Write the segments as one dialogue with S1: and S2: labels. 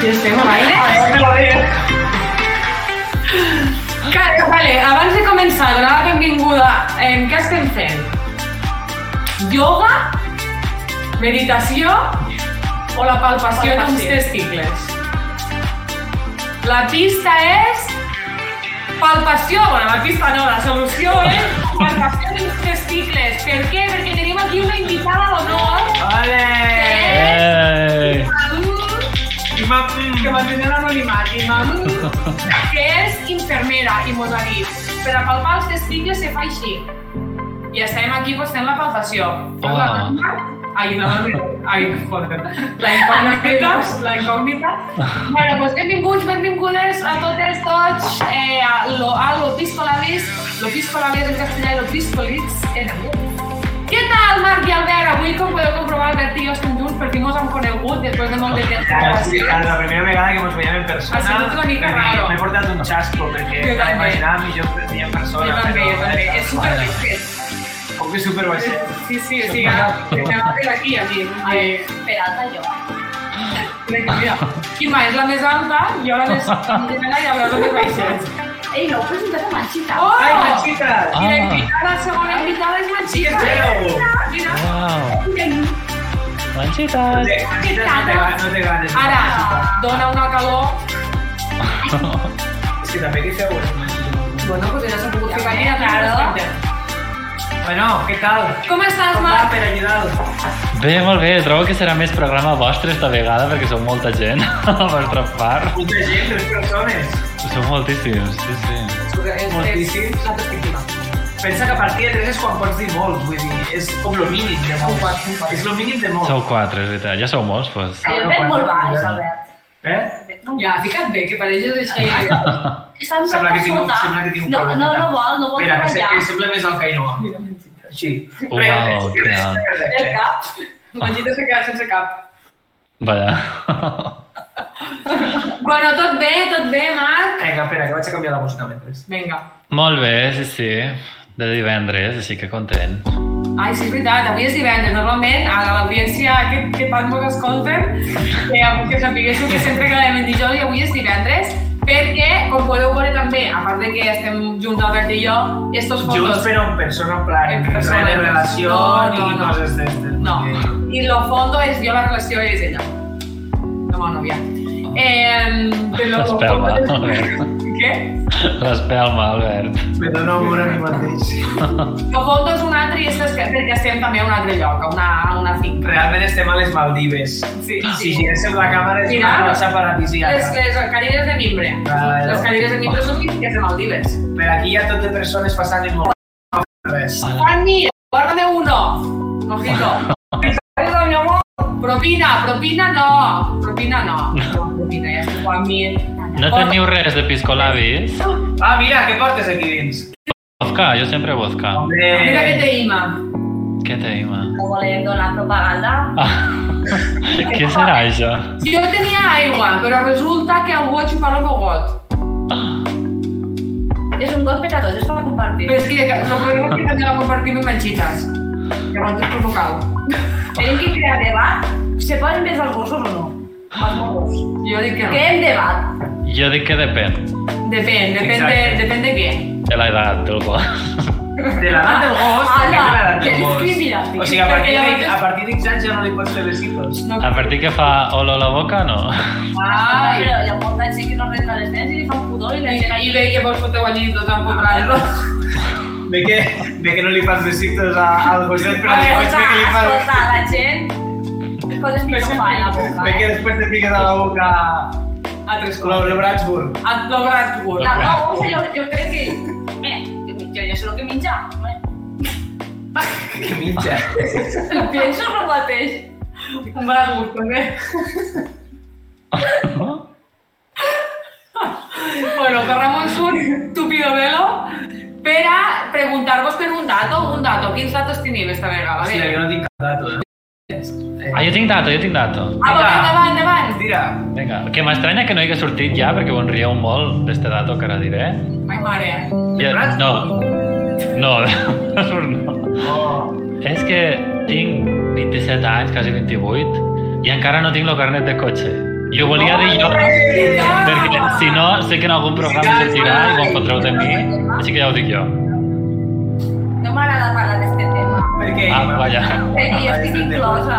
S1: Dios, tengo baile. Que, vale, abans de començar, donar la benvinguda, eh, què estem fent? Yoga, meditació o la palpació d'uns
S2: Palpació.
S1: testicles? La pista és palpació. Bueno, la pista no, la solució és palpació d'uns testicles. Per què? Perquè tenim aquí una invitada d'honor
S2: Ole!
S1: que és
S3: Eh,
S1: Malú
S2: I m'ha- mm, Que mantenen anonimat, i m'ha-
S1: que és infermera i mos ha dit per a palpar els testicles se fa així. I estem aquí pues, fent la palpació. Fas la
S3: Hola.
S1: palma. Ai, no, no, ai, joder. La incògnita, la incògnita. Bueno, doncs benvinguts, benvingudes a totes, tots, eh, a lo, a lo piscolabis, lo piscolabis en castellà i lo piscolits en anglès. Què tal, Marc i Albert? Avui, com podeu comprovar, Albert i jo estem junts, per fi mos hem conegut després de molt de temps. de
S2: Ah, sí,
S1: relació.
S2: la primera vegada que mos veiem en persona
S1: Ha sigut una mica
S2: perquè
S1: raro.
S2: m'he portat un xasco perquè
S1: Jo
S2: estava
S1: també.
S2: imaginant millor per dir en persona
S1: Jo també, jo
S2: però-
S1: també. És superfisquet.
S2: Puc dir superbaixet.
S1: Sí, sí, sí, ja, ja va per aquí, a mi. Eh, per alta jo. Crec que mira, Quima és la més alta, jo la més mitjana i haurà la més baixa.
S4: Ei, no, pues entonces manchita.
S1: Oh!
S2: Ai, la xica!
S1: I la
S3: Ah.
S1: invitada, la segona invitada és Manxita.
S2: Sí,
S1: Mira, mira.
S3: uau,
S2: No
S3: manxitas.
S2: té- no té ganes, no té ganes.
S1: Ara, dona una calor.
S2: És que també qui feu?
S1: Bueno, pues ja s'ha pogut
S4: ficar
S1: ficar
S4: allà,
S1: allà,
S4: claro.
S2: Bueno, què tal?
S1: Com estàs,
S2: Com va
S1: Marc?
S2: per allà dalt?
S3: Bé, molt bé, trobo que serà més programa vostre esta vegada perquè sou molta gent a la vostra part.
S2: Molta gent, tres persones.
S3: Sou moltíssims, sí, sí.
S2: Moltíssim. Pensa que a partir de 3 és quan pots dir molt, vull dir, és com lo mínim de molt. És lo mínim de molt.
S3: Sou quatre, és veritat. Ja sou molts, doncs.
S4: El vent molt baix, Albert.
S2: Eh?
S1: Ja, fica't bé, que pareixes així.
S4: Està un
S2: Sembla
S4: cap
S2: que tinc, un-
S4: sota.
S2: sembla que tinc un
S4: No,
S2: problema.
S4: no, no vol, no vol
S2: Mira, que, se,
S4: treballar.
S2: que sembla més el Cainoa. Així.
S3: Uau, que alt.
S1: El cap. Manxita s'ha quedat sense cap.
S3: Vaja.
S1: Bueno, tot bé, tot bé, Marc.
S2: Vinga, espera, que vaig a canviar la música mentre.
S1: Vinga.
S3: Molt bé, sí, sí. De divendres, així que content.
S1: Ai, sí, és veritat, avui és divendres. Normalment, a l'audiència que, que tant mos escolten, que, que sapiguéssiu que sempre quedem en dijous i avui és divendres, perquè, com podeu veure també, a part de que estem junts Albert i jo, estos
S2: Junts
S1: fotos...
S2: però en persona, en plan,
S1: En
S2: en
S1: persona.
S2: persona, de relació
S1: No, no,
S2: ni
S1: no.
S2: coses d'estes.
S1: No, i lo fondo és jo, la relació és ella. No, no, ja. Eh, però lo
S3: Espelma,
S1: fondo
S3: molt
S1: és... Què?
S3: L'espelma, Albert.
S2: Me dono amor a mi mateix.
S1: Lo fondo és un altre i és que, perquè estem també a un altre lloc, a una, a una finca.
S2: Realment estem a les Maldives.
S1: Ah, Sí,
S2: Si giréssim la càmera és
S1: Mira.
S2: una cosa
S1: Les,
S2: paradisiaca.
S1: les cadires de mimbre.
S2: Claro.
S1: Les cadires de mimbre són mítiques de Maldives.
S2: Per aquí hi ha tot de persones passant i molt Ah, res.
S1: Juanmi, guárdame uno. Ojito. Guarda, mi amor. Propina, propina no. Propina no. No, propina, ja estic Juanmi.
S3: No teniu res de piscolabis?
S2: Ah, mira, què portes aquí dins?
S3: Vodka, jo sempre vodka.
S2: Hombre,
S1: Mira que te ima.
S3: Què tenim?
S4: No volem donar propaganda.
S3: Ah, què serà això?
S1: Jo tenia aigua, però resulta que algú ha xupat el meu got.
S4: És un got per a tots, és per compartir.
S1: Però és que el problema és que també la compartim amb manxites. Que abans és provocar
S4: Tenim que crear debat. Se poden més els gossos o no? Els gossos.
S1: Jo dic que no.
S4: Creem debat.
S3: Jo dic que depèn
S1: Depèn, depèn de,
S2: Exacte.
S1: depèn de què.
S3: de l'edat del gos.
S2: de l'edat del gos,
S4: Ala,
S2: de l'edat
S4: que
S2: del gos.
S4: discriminati.
S2: O sigui, a partir
S1: Perquè
S2: de-
S1: llavors-
S2: a partir d'X anys ja no li pots fer besitos.
S1: No.
S3: A partir que fa olor a la boca, no?
S1: Ai.
S4: Però hi ha molta gent que no renta les dents i li fan pudor i la gent
S1: I
S4: allà...
S1: bé que vos foteu allí tots empotrant-los.
S2: Ve que, ve que no li fas besitos a, al gosset, però
S1: A veure,
S2: després ve que li fas...
S4: Escolta, la gent... Coses
S2: Pues
S4: que no fa a la boca,
S2: Ve que
S4: eh?
S2: després te fiques a la boca
S1: A tres
S2: lo, lo Bratsburg.
S1: A lo Bradford.
S4: La boca, jo, jo crec que... Mira, jo, jo sé el que ¿eh? menjar. home.
S2: Que mitja.
S4: Penso el mateix.
S1: Un Bradford, també. Bueno, cerramos un tupido velo per a preguntar-vos per un dato, un dato. Quins datos tenim esta vegada?
S2: Hòstia,
S1: Vinga.
S2: jo no tinc cap dato, eh?
S3: Ah, jo tinc dato, jo tinc dato.
S1: Ah, doncs endavant, endavant.
S2: Tira.
S3: Vinga, que m'estranya que no hagués sortit ja, perquè ho enrieu molt d'este dato que ara diré.
S1: Ai, mare.
S3: Ja, no, no, no,
S2: Oh.
S3: És que tinc 27 anys, quasi 28, i encara no tinc el carnet de cotxe. I ho volia dir jo, perquè si no, sé que en algun programa sortirà i quan fotreu de mi, així que ja ho dic jo.
S4: No m'agrada parlar d'aquest este tema.
S2: Perquè,
S3: Ah, vaja.
S4: Perquè jo
S2: este
S4: estic inclosa.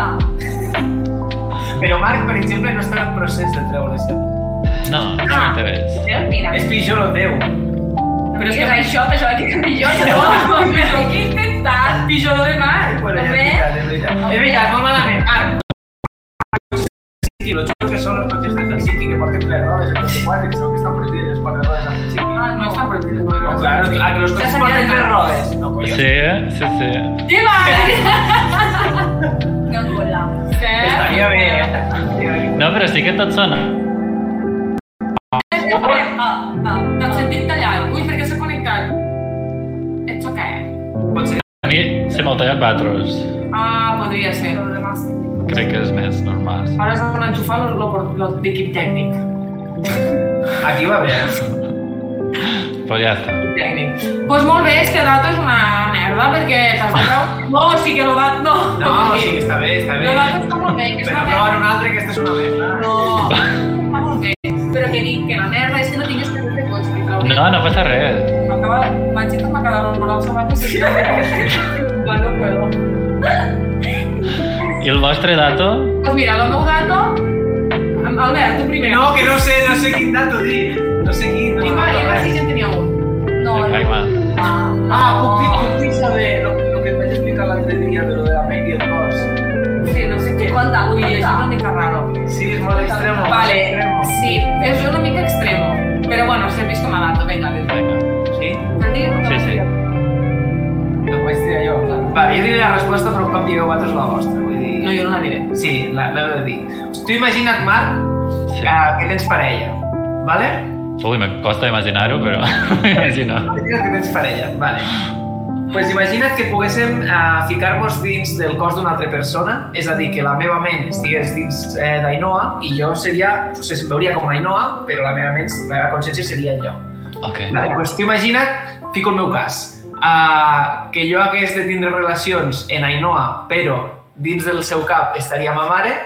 S2: Però Marc, per exemple, no està en procés de treure-se.
S3: No, no m'interessa.
S4: Veus? Mira.
S2: És pitjor el teu.
S4: Però és que és això, pensava que era millor. No, m'ho he intentat.
S1: Pijoló de mar. Ah.
S2: Bueno, és
S4: També.
S2: veritat, és veritat. És veritat, molt malament. Marc, Sí, lo xulo que són els cotxes de Helsinki que porten les rodes de 24, que són que estan prohibides les quatre rodes de Helsinki.
S4: Ah, no està
S1: prohibido.
S2: No, claro, ah, que los
S4: Ja
S2: cotxes
S4: sabia
S2: porten
S4: de
S2: tres
S4: nada.
S2: rodes. No, collons.
S3: Sí, sí, sí.
S1: Què va?
S4: No et vola.
S2: Estaria bé, eh? Estaria bé.
S3: No, però sí que tot sona.
S4: Ah, ah.
S1: T'has sentit tallat. Ui, per què s'ha connectat? Esto què és?
S2: Potser
S3: A mi se m'ha tallat batros.
S1: Ah, podria ser.
S4: Lo demás.
S3: Crec que és més normal.
S1: Ara s'ha d'enxufar l'equip tècnic.
S2: aquí va bé.
S3: Però ja està.
S1: Tècnic. Pues molt bé, és que Dato és una merda, perquè t'has de treure... No, sí que lo va... No,
S2: No, sí, està bé, està bé.
S1: Lo Dato està molt bé, que
S2: Però
S1: està bé.
S2: proven una altra, aquesta és una merda.
S1: No, està molt bé. Però que dic que la merda és que no tinguis que fer cotxe. que trauré.
S3: No, no passa res.
S1: M'acaba... Vaig a tornar a quedar amb els sabatos i... Va, no puedo.
S3: I el vostre dato?
S1: Pues mira, el meu dato... Albert, tu primer.
S2: No, que no sé, no sé quin dato dir. No sé quin, no.
S1: I va, i va, sí que en tenia un.
S4: No,
S3: El
S2: eh.
S4: no.
S3: Caimán.
S4: Ah,
S2: Ah, puc dir, puc dir saber lo, lo que et vaig explicar l'altre dia de lo de la pell i el cos.
S1: ah, Sí, no sé què.
S4: Conta,
S1: Ui,
S4: conta.
S1: és una mica raro.
S2: Sí, és molt extremo.
S1: Vale,
S2: Extremo.
S1: sí, és una mica extremo. Però bueno, serveix com a dato, vinga, des de...
S3: Vinga.
S2: Sí?
S1: Però digue'm com
S3: Sí,
S1: es
S3: sí.
S1: diu.
S2: Ho vaig dir jo. Va, jo diré la resposta, però un cop digueu vosaltres la vostra. Vull dir...
S1: No, jo no la diré.
S2: Sí, la- l'heu de dir. Tu imagina't, Marc,
S3: Sí.
S2: que, que tens parella, vale?
S3: Ui, me costa imaginar-ho, però imagino.
S2: Imagina't que tens parella, vale. Pues imagina't que poguéssim eh, ficar-vos dins del cos d'una altra persona, és a dir, que la meva ment estigués dins eh, d'Ainoa i jo seria, o sigui, em veuria com Ainoa, però la meva ment, la meva consciència seria jo.
S3: Ok.
S2: Vale, pues tu imagina't, fico el meu cas, uh, que jo hagués de tindre relacions en Ainoa, però dins del seu cap estaria ma mare,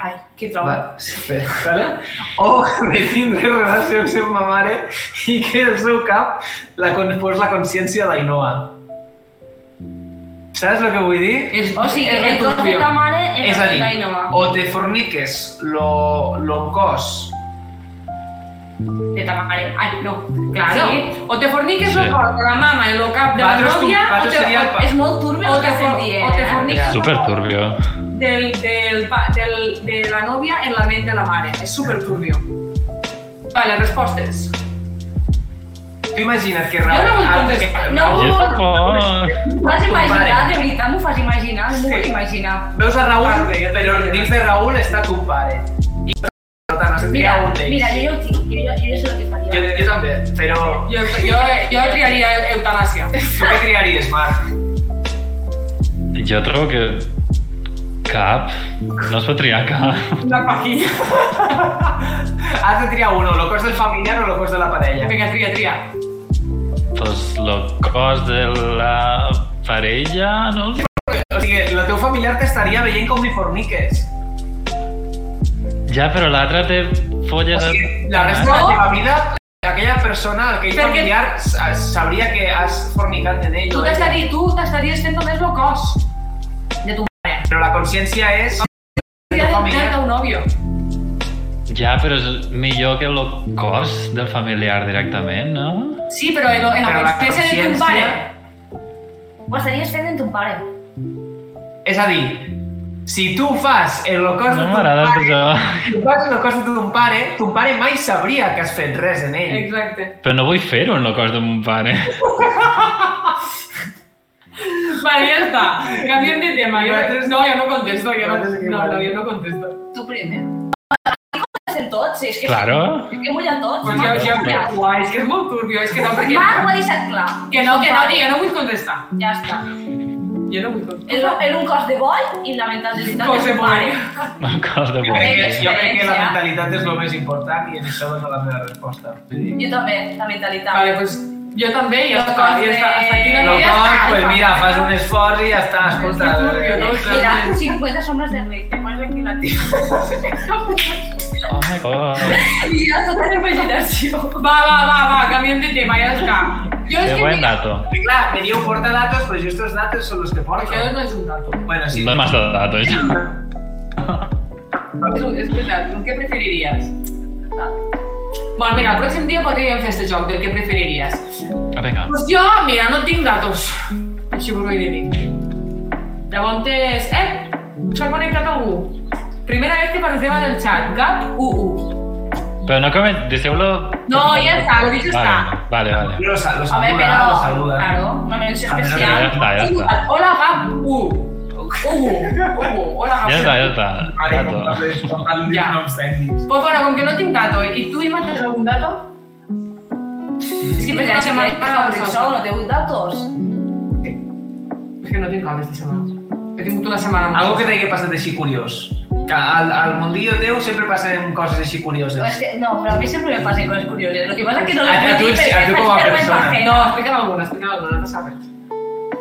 S4: Ai, que trobo.
S2: va, espera, vale? o de tindre relacions amb ma mare i que el seu cap la, con- fos la consciència d'Ainoa. Saps el que vull dir?
S1: És,
S4: O sigui,
S1: és
S4: el cos de
S1: reconstrucció.
S4: ta mare
S2: És
S4: era
S2: a
S4: de
S2: dir,
S4: Dainova.
S2: o te forniques lo, lo cos
S4: De ta mare. Ai, no.
S1: Claro.
S4: Sí.
S1: O te forniques
S3: Sí.
S1: el cor de la mama i el cap de la
S2: Vatros tu-
S1: nòvia, o
S2: vatros
S1: te,
S2: seria el pa-
S4: És molt turbi
S1: o
S4: el que
S1: te,
S4: estem
S1: for,
S4: dient.
S1: o te forniques
S3: Super turbio.
S1: del, del, pa- del, de la nòvia en la ment de la mare. És super turbio. Vale, respostes.
S2: Tu imagina't que...
S1: Jo no vull
S2: ah,
S1: contestar.
S2: que-
S4: No.
S3: Jo tampoc.
S4: M'has
S2: Tu,
S4: imaginat,
S2: pare.
S4: de veritat, m'ho fas imaginar, m'ho vull
S2: Sí.
S4: imaginar.
S2: Veus a Raúl, però dins de Raúl està tu pare. I per tant, es tria
S4: Mira,
S2: un d'ells.
S4: mira, jo ja ho tinc, jo ja, jo ja sé el que
S2: Jo,
S4: faria.
S2: jo també, però
S1: Jo, jo, jo triaria eutanàsia.
S2: tu què triaries, Marc?
S3: Jo trobo que cap. No es pot triar cap.
S1: Una pajilla.
S2: Has de triar un, o lo cos del familiar o lo cos de la parella.
S1: Vinga, tria, tria.
S3: Doncs el cos de la parella, no?
S2: O sigui, el teu familiar t'estaria veient com li forniques.
S3: Ja, però l'altre té
S2: O
S3: folles...
S2: sigui,
S3: de-
S2: la resta de la teva vida, aquella persona, aquell
S1: Perquè-
S2: familiar, sa- sabria que has fornicat en ell.
S1: Tu
S2: o ella.
S1: t'estaries, tu t'estaries fent només el cos.
S4: De tu mare.
S2: Però la consciència és...
S1: Tria del del teu nòvio.
S3: Ja, però és millor que el cos del familiar directament, no?
S1: Sí, però en, en
S2: Però
S1: la
S2: la
S1: consciència de ton
S2: consciència-
S1: pare.
S4: Ho estaries fent en ton pare.
S2: És a dir, si tu fas el cos
S3: No
S2: de tu
S3: m'agrada
S2: pare,
S3: això.
S2: Si fas una cosa de ton pare, ton pare mai sabria que has fet res en ell.
S1: Exacte.
S3: Però no vull fer-ho en el cos de mon pare.
S1: Vale, ja està. Canviem de tema. Jo, no, jo no contesto. Jo no, no, no, jo no contesto.
S4: Tu primer. Ho fem tots, és que...
S3: Claro.
S4: És que mullen tots.
S1: Pues jo, jo,
S4: Ja.
S1: uah, és que és molt turbio. És que no, perquè...
S4: Marc ho ha deixat clar.
S1: Que no, que no, que jo no vull contestar.
S4: Ja està.
S1: Jo no vull contestar.
S4: Era, era un cos de boi i la mentalitat
S1: Cos de
S4: ton
S1: boi.
S3: El cos de
S2: Jo
S3: mon
S2: crec, que,
S3: pare.
S2: jo crec que la mentalitat és el més important i en això dono la meva resposta. Vull dir,
S4: Jo també, la mentalitat.
S1: Vale, pues Jo també, i
S4: Lo
S1: hasta, i hasta, hasta aquí la
S4: Eh,
S2: Lo
S1: meva...
S4: ja
S2: cor,
S4: està,
S2: pues
S4: ja
S2: mira,
S4: està.
S2: fas un esforç i ja està, escolta.
S1: Sí, sí, sí, sí.
S4: Mira, 50 sombras de rey, te pones aquí la tira.
S3: Oh my god.
S4: I ja tota la imaginació.
S1: Va, va, va, va, canviem de tema, ja està. Jo és
S3: Qué
S1: que...
S3: buen
S1: mira,
S3: dato.
S2: Clar, me diu porta datos, pues yo estos datos son los que porto.
S1: Això no és un dato.
S2: Bueno, sí.
S3: No hay más datos.
S1: És, és veritat, què preferiries? Bueno, mira, el pròxim dia podríem fer este joc del que preferiries.
S3: Ah, Venga.
S1: Doncs jo, Pues mira, no tinc datos. Així vos ho he de dir. Llavors, eh, s'ha connectat algú. Primera vez que participava del xat, GAP UU.
S3: Pero no comen, deseúlo.
S1: No, ya está, lo dicho está.
S3: Vale, vale. vale.
S2: Lo, sa- lo
S4: A
S2: saluda,
S4: ver, pero...
S2: lo saluda.
S4: Claro, una menció
S2: A ver,
S3: Pero Ah, ya
S4: especial.
S3: está, ya está.
S1: Hola, GAP UU. UU, UU, hola, GAP
S3: Ya está, ya está.
S2: Vale,
S3: Dato.
S2: compadre, compadre,
S1: Ya.
S2: no obstacles.
S1: Pues bueno, con que no tinc dato. ¿Y tú, Ima, tens algun dato?
S4: Sí, sí, perquè la setmana passada ho sol, no té vuit datos.
S1: Es que no tinc cap aquesta setmana. He tingut una setmana molt-
S2: Algo que t'hagi passat així curiós. Que al, al mundillo teu sempre passen coses així
S4: Es
S2: curioses.
S4: que, no, pero a mí siempre me pasan cosas curiosas. Lo que pasa es que no
S2: A-
S4: lo
S2: a
S4: puedo
S2: tú-
S4: decir, pero
S2: a
S4: es
S2: tú
S4: más
S2: como a
S4: vergüenza
S2: persona.
S4: ajena.
S1: No, explica'm alguna, explica'm alguna, no sabes.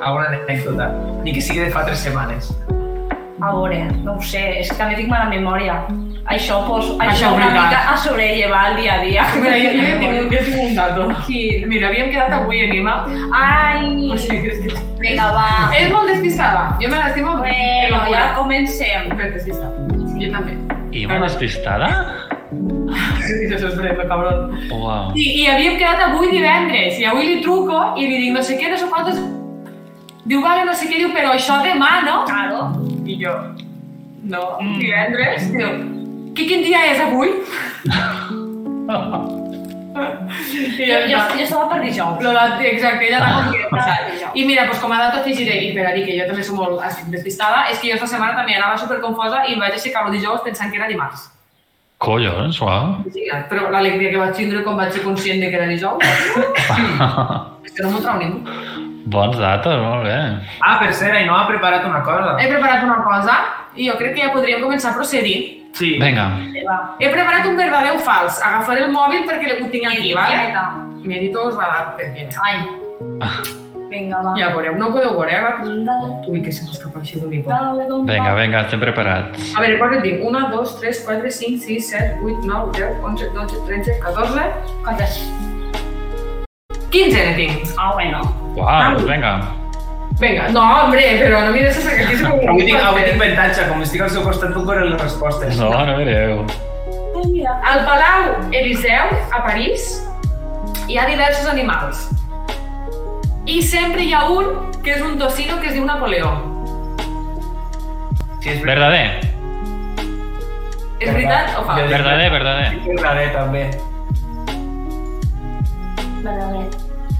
S2: Alguna anècdota. Ah, Ni que sigui de fa tres setmanes.
S4: A veure, no ho sé, és que també tinc mala memòria. Això, pues,
S1: Això
S4: això una
S1: obligat.
S4: mica a sobrellevar el dia a dia.
S1: Mira, jo, jo, ja tinc, jo tinc un dato.
S4: Sí.
S1: Mira, havíem quedat avui en Ima.
S4: Ai,
S1: O sigui, és, que...
S4: vinga, va.
S1: és molt despistada. Jo me l'estimo.
S4: Bueno,
S1: però
S4: ja comencem.
S1: Fet despistada. Jo també.
S3: ¿Y una despistada?
S1: Sí, això és breu, cabrón.
S3: Wow.
S1: I, I havíem quedat avui divendres, i avui li truco i li dic no sé què, no sé quantos... Diu, vale, no sé què, diu, però això demà, no?
S4: Claro.
S1: I jo, no, divendres? Diu, que quin dia és avui? I
S4: Jo,
S1: ja
S4: jo,
S1: està.
S4: jo estava per dijous.
S1: Lo dat- exacte, ella la
S4: Ah.
S1: confiança. I mira, pues, com a data afegiré, i per a dir que jo també soc molt estic despistada, és que jo esta setmana també anava superconfosa i em vaig aixecar el dijous pensant que era dimarts.
S3: Collons, wow.
S1: Sí, però l'alegria que vaig tindre quan vaig ser conscient de que era dijous, és que no m'ho trau ningú.
S3: Bons datos, molt bé.
S2: Ah, per cert, Ainhoa ha preparat una cosa.
S1: He preparat una cosa i jo crec que ja podríem començar a procedir.
S2: Sí.
S3: Vinga.
S4: Va.
S1: He preparat un verdader o fals. Agafaré el mòbil perquè ho tinc aquí, vale?
S4: Vinga.
S1: M'edito us va dar perquè...
S4: Ai. Vinga, va.
S1: Ah. Ja ho veureu, no ho podeu veure, eh?
S4: Dale,
S1: Ui, que se m'escapa així d'un micro.
S4: dale, dale.
S3: Vinga, vinga, estem preparats.
S1: A veure, quan tinc? 1, 2, 3, 4, 5, 6, 7, 8, 9, 10, 11, 12, 13, 14...
S4: Quantes?
S1: 15 ne tinc.
S4: Ah, bueno.
S3: Uau, doncs vinga.
S1: Vinga, no, hombre, però no mires això que aquí és com...
S2: Avui tinc, avui tinc avantatge, com estic al seu costat, puc veure les respostes.
S3: No, no mireu.
S4: Ai, mira.
S1: Al Palau Eliseu, a París, hi ha diversos animals. I sempre hi ha un que és un tocino que es diu Napoleó.
S2: Sí, és veritat.
S3: Verdader.
S1: És veritat o fals?
S3: Verdader, verdader.
S2: És verdader, també.
S4: Verdader.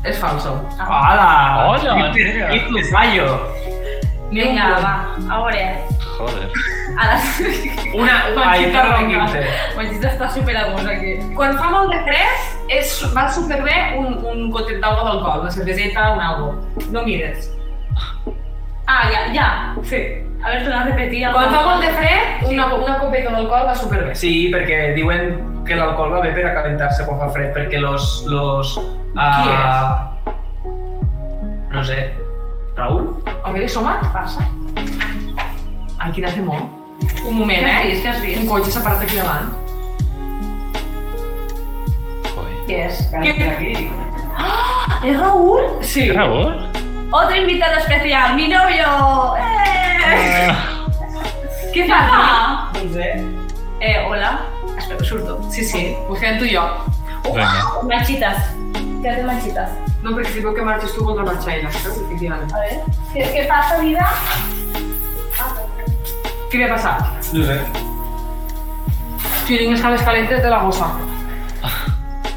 S1: És falso.
S4: Ah.
S2: Hola!
S3: Hola.
S2: I tu, fallo!
S1: Ni un
S4: Vinga,
S1: punt.
S4: va. A veure.
S3: Joder.
S4: Ara
S2: Una... Ai,
S1: Panxita
S2: torna
S1: Roca.
S2: 15.
S4: Manxita està superagosa aquí.
S1: Quan fa molt de fred, és, va superbé un, un gotet d'aigua d'alcohol, una cerveseta, un algo. No mires.
S4: Ah, ja, ja.
S1: Sí.
S4: A veure, torna a repetir.
S1: Quan fa molt de fred, una, una copeta d'alcohol va superbé.
S2: Sí, perquè diuen que l'alcohol va bé per a calentar-se quan fa fred, perquè los... los ah, No sé. Raúl?
S1: A veure, som a passa. Ai, quina temor. Un moment,
S4: Què has
S1: eh?
S4: vist? Què has vist?
S1: Un cotxe s'ha parat aquí davant.
S3: Ui.
S4: Què és?
S2: Aquí.
S4: És Raül?
S1: Sí.
S3: Era vos?
S4: Otro invitado especial, mi novio! Eh!
S3: Ah,
S4: Què fa?
S2: No sé.
S4: Eh, hola. Espera, surto.
S1: Sí, sí, ho fem tu i jo.
S3: Vinga.
S4: Manchitas. Què has de manchitas?
S1: No, perquè si veu que marxes tu, voldrà marxar ella. Saps? Efectivament.
S4: A veure. Què, què passa, vida? Ah,
S1: Què li ha passat?
S2: No sé.
S1: Jo tinc les cames calentes de la gossa.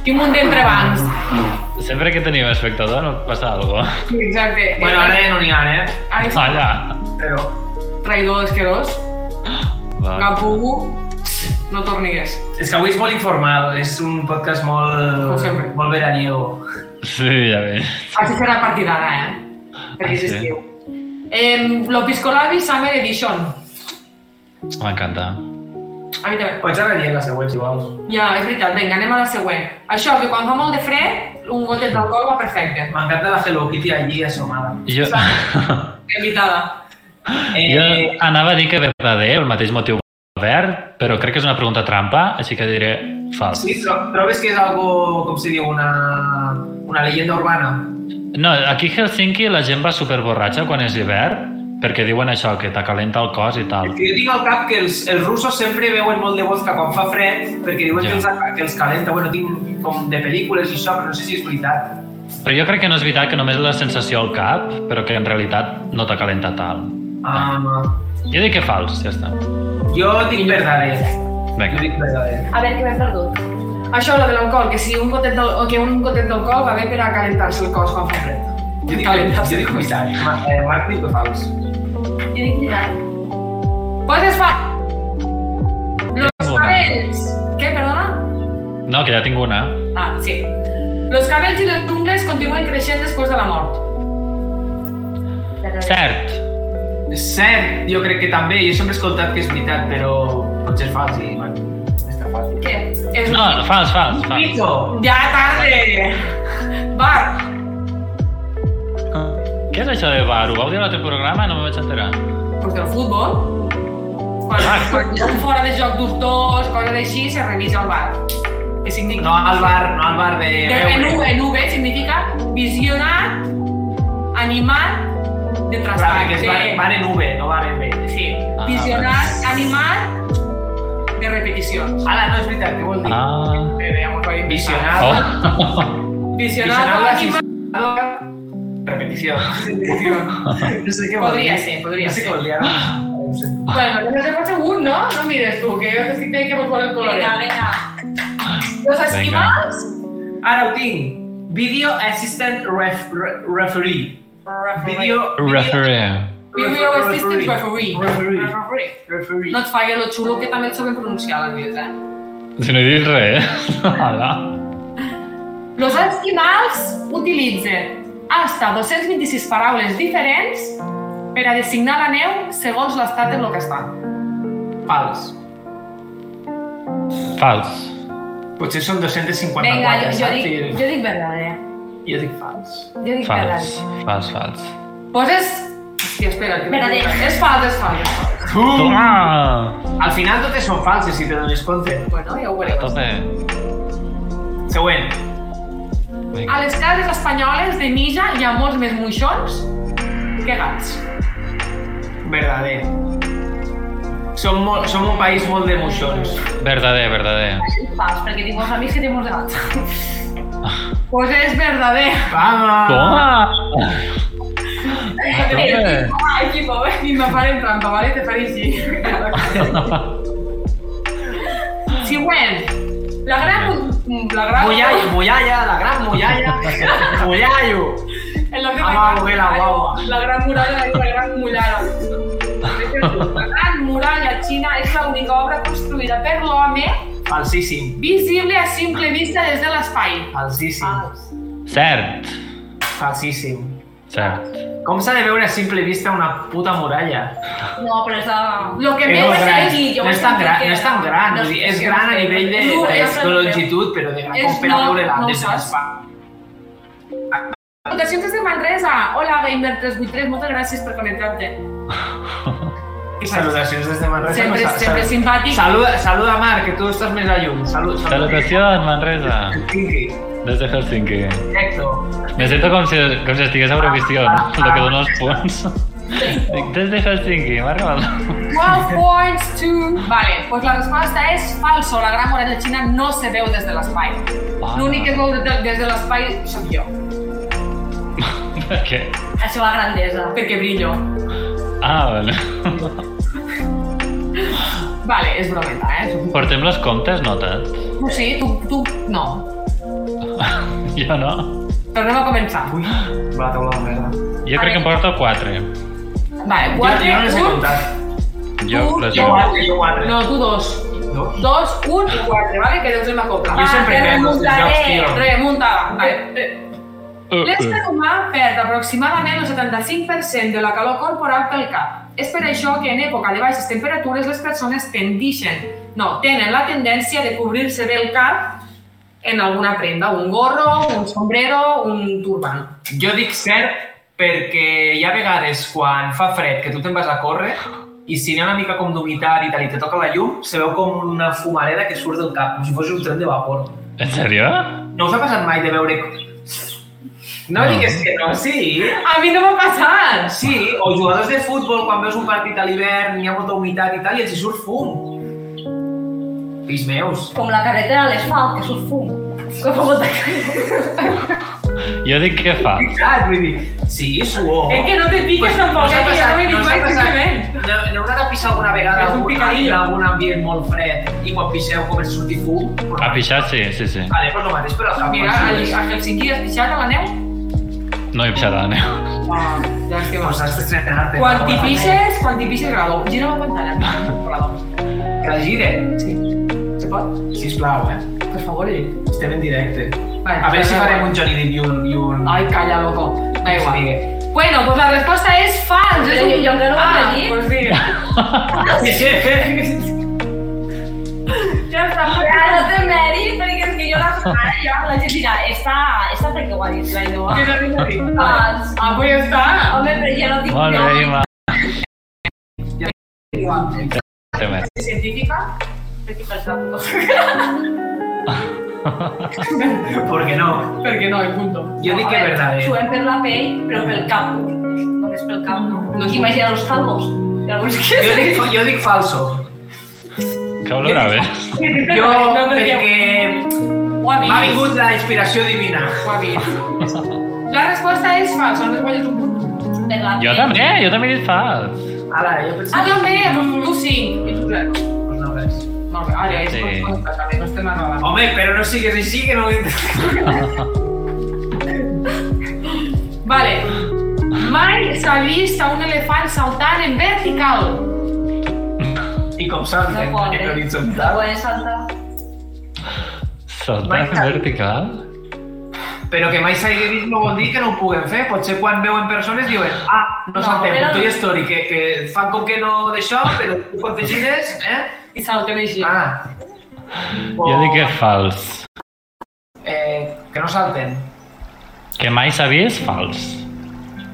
S1: Tinc un d'entrebancs.
S3: Sempre que tenim espectador no passa alguna cosa.
S1: Exacte.
S2: Bueno, ara ja no n'hi ha, eh?
S1: Ai,
S3: Allà.
S2: Però...
S1: traïdor esquerós,
S3: Va.
S1: Gapugu, no tornigues.
S2: És que avui és molt informal, és un podcast molt...
S1: Com sempre.
S2: Molt veraniego.
S3: Sí, ja ves.
S1: Així serà a partir d'ara, eh? Perquè
S3: Ah,
S1: és
S3: sí?
S1: estiu. Em, Lo Piscolabis Summer Edition.
S3: M'encanta.
S1: A mi també.
S2: Pots anar dient la següent, si vols.
S1: Ja, és veritat. Vinga, anem a la següent. Això, que quan fa molt de fred, un gotet d'alcohol va perfecte.
S2: M'encanta la Hello Kitty allí assomada. Eh,
S3: Jo,
S1: Invitada.
S3: jo anava a dir que verdader, el mateix motiu verd, però crec que és una pregunta trampa, així que diré fals.
S2: Sí, tro- trobes que és algo, com se diu, una, una llegenda urbana?
S3: No, aquí a Helsinki la gent va superborratxa quan és hivern, perquè diuen això, que t'acalenta el cos i tal.
S2: Jo tinc al cap que els, els russos sempre veuen molt de vodka quan fa fred, perquè diuen
S3: Ja.
S2: que, els, aca- que els calenta, bueno, tinc com de pel·lícules i això, però no sé si és veritat.
S3: Però jo crec que no és veritat que només la sensació al cap, però que en realitat no t'acalenta tal.
S2: Um,
S3: Jo dic que fals, ja està.
S2: jo dic verdader. Jo
S3: Vinga.
S2: dic verdader.
S4: A veure, què m'he perdut.
S1: Això, lo de l'alcohol, que si un gotet del, o que un gotet d'alcohol va bé per a calentar-se el cos quan fa fred.
S2: Jo dic,
S1: Calenta.
S2: jo dic veritat. Ma- eh, Marc diu que fals.
S4: Jo dic veritat.
S1: Pues es fa...
S3: És
S1: Los
S3: bona.
S1: cabells... Què, perdona?
S3: No, que ja tinc una.
S1: Ah, sí. Los cabells i les ungles continuen creixent després de la mort.
S3: Cert.
S2: És cert, jo crec que també, jo sempre he escoltat que és veritat, però potser és fals i, bueno, està fàcil.
S1: Què? És...
S3: No, no, fals, fals, fals.
S2: Pito!
S1: Ja tarde! Bar!
S3: Què és això de bar? Ho vau dir a l'altre programa? No me vaig enterar.
S1: Pues del futbol. Quan,
S3: Ah,
S1: quan hi ha un fora de joc dubtós, coses així, se revisa el bar. Que significa...
S2: No al bar, no al bar de...
S1: De, en, U, en UV significa visionar, animar, de
S2: Clar,
S1: trastar.
S2: que és bar,
S1: de-
S2: bar en V, no bar en B.
S1: Sí.
S3: Ah,
S1: Visionar, animar, de repeticions.
S2: Ala, no, és veritat, què vol dir?
S3: Ah.
S1: Bé, bé, amor, va
S2: Visionar.
S3: Oh.
S1: Visionar, o animar,
S2: Repetició. No sé què vol dir.
S1: Podria ser, podria
S2: No sé
S1: ser.
S2: què vol dir. ara. No ho sé.
S1: Bueno, no se pasa un, ¿no? No mires tú, que yo sí tengo que buscar el color.
S4: Vinga, vinga.
S1: Los
S3: Venga.
S1: esquimals.
S2: Ara ho tinc. Video Assistant ref, re, Referee. Video...
S3: Referee.
S1: Video assistant referee.
S2: Referee.
S1: Referee.
S2: Referee.
S1: No et fague lo xulo que també el saben pronunciar a l'anglès, eh?
S3: Si no he dit res. Hola.
S1: Los esquimals utilitzen hasta 226 paraules diferents per a designar la neu segons l'estat en el que està.
S2: Fals.
S3: Fals.
S2: Potser són 254.
S4: Vinga, jo, jo,
S2: saps?
S4: dic, jo dic verdader.
S2: eh, Jo dic fals.
S4: Jo dic verdader.
S3: Fals. Fals, fals.
S1: Pues és... Hòstia, espera, que...
S4: Espera, de-
S1: És fals, és fals, és fals.
S3: Toma!
S2: Al final totes són falses, si te dones compte.
S1: Bueno, ja ho
S3: A
S1: veurem.
S3: tope.
S2: Següent.
S1: A les cases espanyoles de Mija hi ha molts més moixons que gats.
S2: Verdader. Som, molt, som un país molt de moixons.
S3: Verdader, verdader.
S4: Fals, perquè tinc uns amics que tenen molts gats.
S1: Pues és verdader.
S2: Vamos!
S3: Toma! A tope.
S1: Ai, que bo, eh? I me faré en trampa, vale? Te faré així. Següent. La gran... La gran...
S2: Mullallo, mullalla, la gran mullalla. Mullallo.
S1: En la gran...
S2: Ah, va, la guagua.
S1: La gran muralla, la gran muralla. La gran muralla xina és l'única obra construïda per l'home
S2: Falsíssim.
S1: visible a simple vista des de l'espai.
S2: Falsíssim.
S3: Cert.
S2: Falsíssim.
S3: Cert.
S2: Com s'ha de veure a simple vista una puta muralla?
S4: No, però és de...
S1: Lo que
S2: Que
S1: més
S2: no, és
S1: és
S2: gran,
S4: aquí, jo
S2: no,
S4: ho
S2: és tan
S4: sé
S2: gran,
S4: que
S2: no és tan gran,
S4: no
S2: o sigui,
S4: sé
S2: és
S4: si
S2: gran
S4: ho
S2: a
S4: sé.
S2: nivell de,
S1: No,
S2: de,
S1: jo sé lo
S2: de
S1: que-
S2: longitud, però de gran
S1: És
S2: com per a
S1: no,
S2: veure-la
S1: no ho
S2: des de
S1: saps.
S2: l'espai.
S1: Salutacions des de Manresa. Hola, Gamer383, moltes gràcies per connectar-te.
S2: I salutacions des de Manresa.
S1: Sempre,
S2: no,
S1: sempre simpàtic.
S2: Saluda, saluda Marc, que tu estàs més a lluny. Salut,
S3: Salutacions, Manresa.
S2: Tinqui.
S3: Des de Helsinki.
S2: Exacto.
S3: Me sento com si, com si estigués a Eurovisió, el que dono els punts. Dic, Des de Helsinki, m'ha regalat.
S1: 12 points to... Vale, pues la resposta és falso. La gran muralla xina no se veu des de l'espai.
S3: Ah.
S1: L'únic que es veu de- des de l'espai sóc jo,
S3: Per què?
S4: La seva grandesa.
S1: perquè brillo.
S3: Ah, vale.
S1: Vale, és brometa, eh?
S3: Portem les comptes notes?
S1: No sé, tu, tu... No.
S3: Jo no.
S1: Tornem a començar.
S2: Ui, va la taula de merda.
S3: Jo crec que em porto quatre.
S1: Vale,
S2: Jo,
S1: 4,
S2: jo no les
S1: 1...
S2: he comptat.
S3: Jo
S1: Tu,
S3: les
S1: jo.
S3: dono.
S2: Quatre, jo quatre.
S1: No, tu 2.
S2: Dos.
S1: 2, 1 i 4, vale? Que deus en la copla.
S2: Jo sempre
S1: que
S2: perdo els
S1: remuntaré.
S2: jocs, tio.
S1: Remuntada. Vale.
S3: Uh,
S1: L'ésser
S3: uh.
S1: humà perd aproximadament el 75% de la calor corporal pel cap. És per això que en època de baixes temperatures les persones tendixen, no, tenen la tendència de cobrir-se bé el cap en alguna prenda, un gorro, un sombrero, un turban.
S2: Jo dic cert perquè hi ha vegades quan fa fred que tu te'n vas a córrer i si n'hi ha una mica com d'humitat i tal i te toca la llum, se veu com una fumareda que surt del cap, com si fos un tren de vapor.
S3: En sèrio?
S2: No us ha passat mai de veure...
S3: No.
S2: No, digues que no, sí.
S1: A mi no m'ha passat!
S2: Sí, o jugadors de futbol, quan veus un partit a l'hivern, hi ha molta humitat i tal, i els hi surt fum. Fills meus.
S4: Com la carretera a l'asfalt, que surt fum. Que fa molta calor.
S3: Jo dic què fa.
S2: Veritat, vull dir, sí, suor.
S1: És que no te piques tampoc, eh, que jo Oh. no m'he dit mai simplement.
S2: No, no haurà de pixar alguna vegada
S1: És un
S2: algun-
S1: picadillo.
S2: en algun ambient molt fred i quan pixeu comença a sortir fum?
S3: A pixar, sí, sí, sí.
S2: Vale, pues lo mateix, però...
S1: Mira, a- a Helsinki has pixat a la neu?
S3: No eh? he pixat a la neu.
S1: Ah, ja és que
S2: Pues
S1: vas.
S2: has d'estrenar-te.
S1: Quan t'hi pixes, Ah. quan t'hi pixes, grado. Gira la pantalla. Grado.
S2: Que la gire,
S1: Sí. Se pot?
S2: sisplau, eh?
S1: Per favor, Eric.
S2: Estem en directe.
S1: Vale,
S2: a veure si
S1: vale.
S2: farem un Johnny Depp i un... I un...
S1: Ai, calla, loco. Da igual.
S2: Sí.
S1: Bueno, pues la respuesta es falsa.
S4: Yo- yo- yo creo que
S1: ah,
S4: sí.
S1: pues sí.
S4: Ja està,
S1: Ah,
S4: però no té mèrit, perquè és que jo la ara ja la gent dirà, està, està perquè ho ha dit, la Inoa.
S1: Que no rima.
S4: Ah,
S1: Ah, pues ya está.
S4: home, però ja no dic
S3: Molt bé,
S4: no.
S3: Ima.
S1: Igual.
S3: Temes.
S1: Científica.
S4: Perquè per això...
S2: ¿Por qué no?
S1: Porque no, el punto.
S2: Yo di que es verdad, eh.
S4: S'ho hem per la pell, però pel cap. Només pel cap, no. No s'imagina els calvos. Hi ha alguns que...
S2: Yo dic, yo dic falso.
S3: Que olor a bé.
S2: Jo,
S1: No,
S2: perquè
S1: Guavi.
S2: m'ha vingut la inspiració divina.
S1: Guavi. La respuesta es falsa. No te vayas un punto.
S4: Per la pell.
S3: Jo també, jo també he dit fals.
S2: Ara, jo
S1: Ah,
S2: pensava...
S1: yo me. Tú sí. Y tú claro.
S2: Pues no res.
S1: No, ahora es
S3: Sí.
S1: por favor, también no esté más nada.
S2: Home, però no sigues així, que no...
S1: Vale. Mai s'ha vist a un elefant saltant en vertical.
S2: I com saps,
S4: No
S2: en,
S4: pot,
S2: en
S4: eh? No
S2: horitzontal.
S4: pot saltar.
S3: Saltar en vertical?
S2: Però que mai s'hagi vist no vol dir que no ho puguem fer. Potser quan veuen persones diuen ah, no,
S4: No,
S2: saltem,
S4: però-
S2: Toy Story, que, que fan com que no d'això, però tu quan te gires, eh?
S1: I salten així.
S2: Ah.
S3: Jo dic que és fals.
S2: Eh, que no salten.
S3: Que mai s'ha vist? Fals.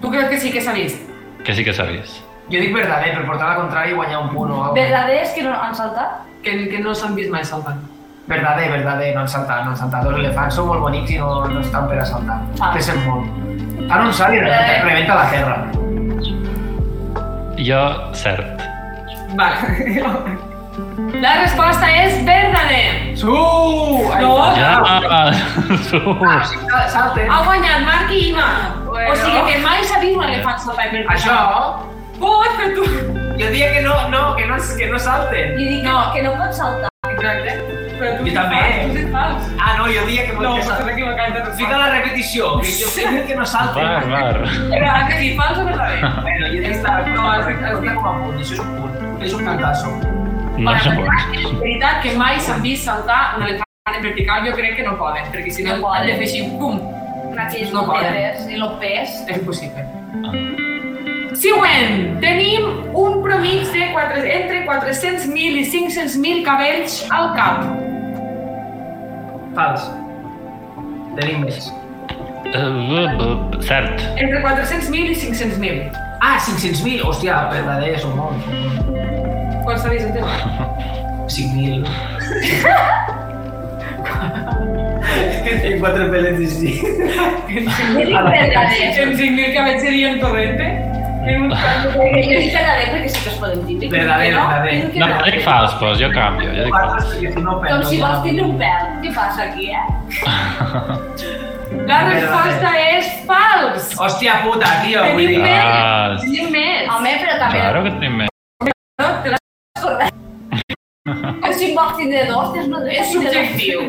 S1: Tu creus que sí que s'ha vist?
S3: Que sí que s'ha vist.
S2: Jo dic verdader, per portar la contrària i guanyar un punt o alguna cosa.
S4: Verdader és que no han saltat?
S1: Que, que no s'han vist mai saltant.
S2: Verdader, verdader, no han saltat, no han saltat. Els elefants són molt bonics i no, no estan per a saltar.
S4: Ah.
S2: Pesen molt. Fan un salt i rebenta, rebenta la terra.
S3: Jo, cert.
S1: Vale. La resposta és verdader.
S2: Su! No!
S1: No.
S3: Ja!
S2: Ah,
S3: Jesús!
S2: sí, sal- salten.
S1: Ha guanyat Marc i Ima.
S4: Bueno.
S1: O sigui que mai s'ha vist un elefant saltar en vertical.
S2: Això,
S1: Pot, però tu...
S2: jo diria que no, no, que no, que no salten.
S4: I dic no. que no pot saltar.
S1: Exacte. Però tu
S2: Jo
S1: sí
S2: també.
S1: fas, Tu sí fas.
S2: Ah, no, jo diria que
S1: No,
S2: que
S1: estàs
S2: salten.
S1: equivocant.
S2: Fica la repetició, que jo crec que no
S3: Bar,
S2: salten.
S3: bar.
S1: Però has de dir fals o verdader?
S2: Bueno, jo diria que està, no, està com a punt, això és un punt, és un cantasso.
S3: No
S1: Vale,
S3: se pot.
S1: veritat- veritat que mai s'han vist saltar un elefant en vertical, jo crec que no poden, perquè si no,
S4: No poden.
S1: han de fer així, pum,
S4: Gràcies,
S1: No
S4: no
S1: poden.
S4: té res. I el pes.
S1: és impossible.
S2: Ah.
S1: Següent, tenim un promig de quatre, entre 400.000 i 500.000 cabells al cap.
S2: Fals. Tenim més.
S3: Eh, Cert.
S1: Entre 400.000 i 500.000.
S2: Ah, 500.000, hòstia, verdader, són molts.
S1: Quan s'ha vist el tema?
S2: 5.000. Tinc quatre pelets i sí.
S4: Jo dic verdader.
S1: En 5.000 cabells seria un torrente? En
S2: Ah.
S1: un cap
S4: Jo dic verdader perquè sí que es poden tindre.
S2: Verdader,
S4: Que no,
S2: verdader.
S4: diu que
S3: No,
S4: no.
S3: dic fals, doncs, jo canvio. Jo dic
S2: Quatre,
S3: fals.
S2: sí, si no,
S4: Com
S2: perdó.
S4: si vols tindre un pèl. Què passa aquí, eh?
S1: La resposta és fals!
S2: Hòstia puta, tio, Ah, vull
S1: Tenim
S2: dir... ah.
S1: més!
S3: Fals.
S1: Tenim més!
S4: Home, però també...
S3: Claro que tenim més.
S1: No, te la-
S4: Com si vols tindre dos, tens no
S1: És
S4: tres.
S1: subjectiu.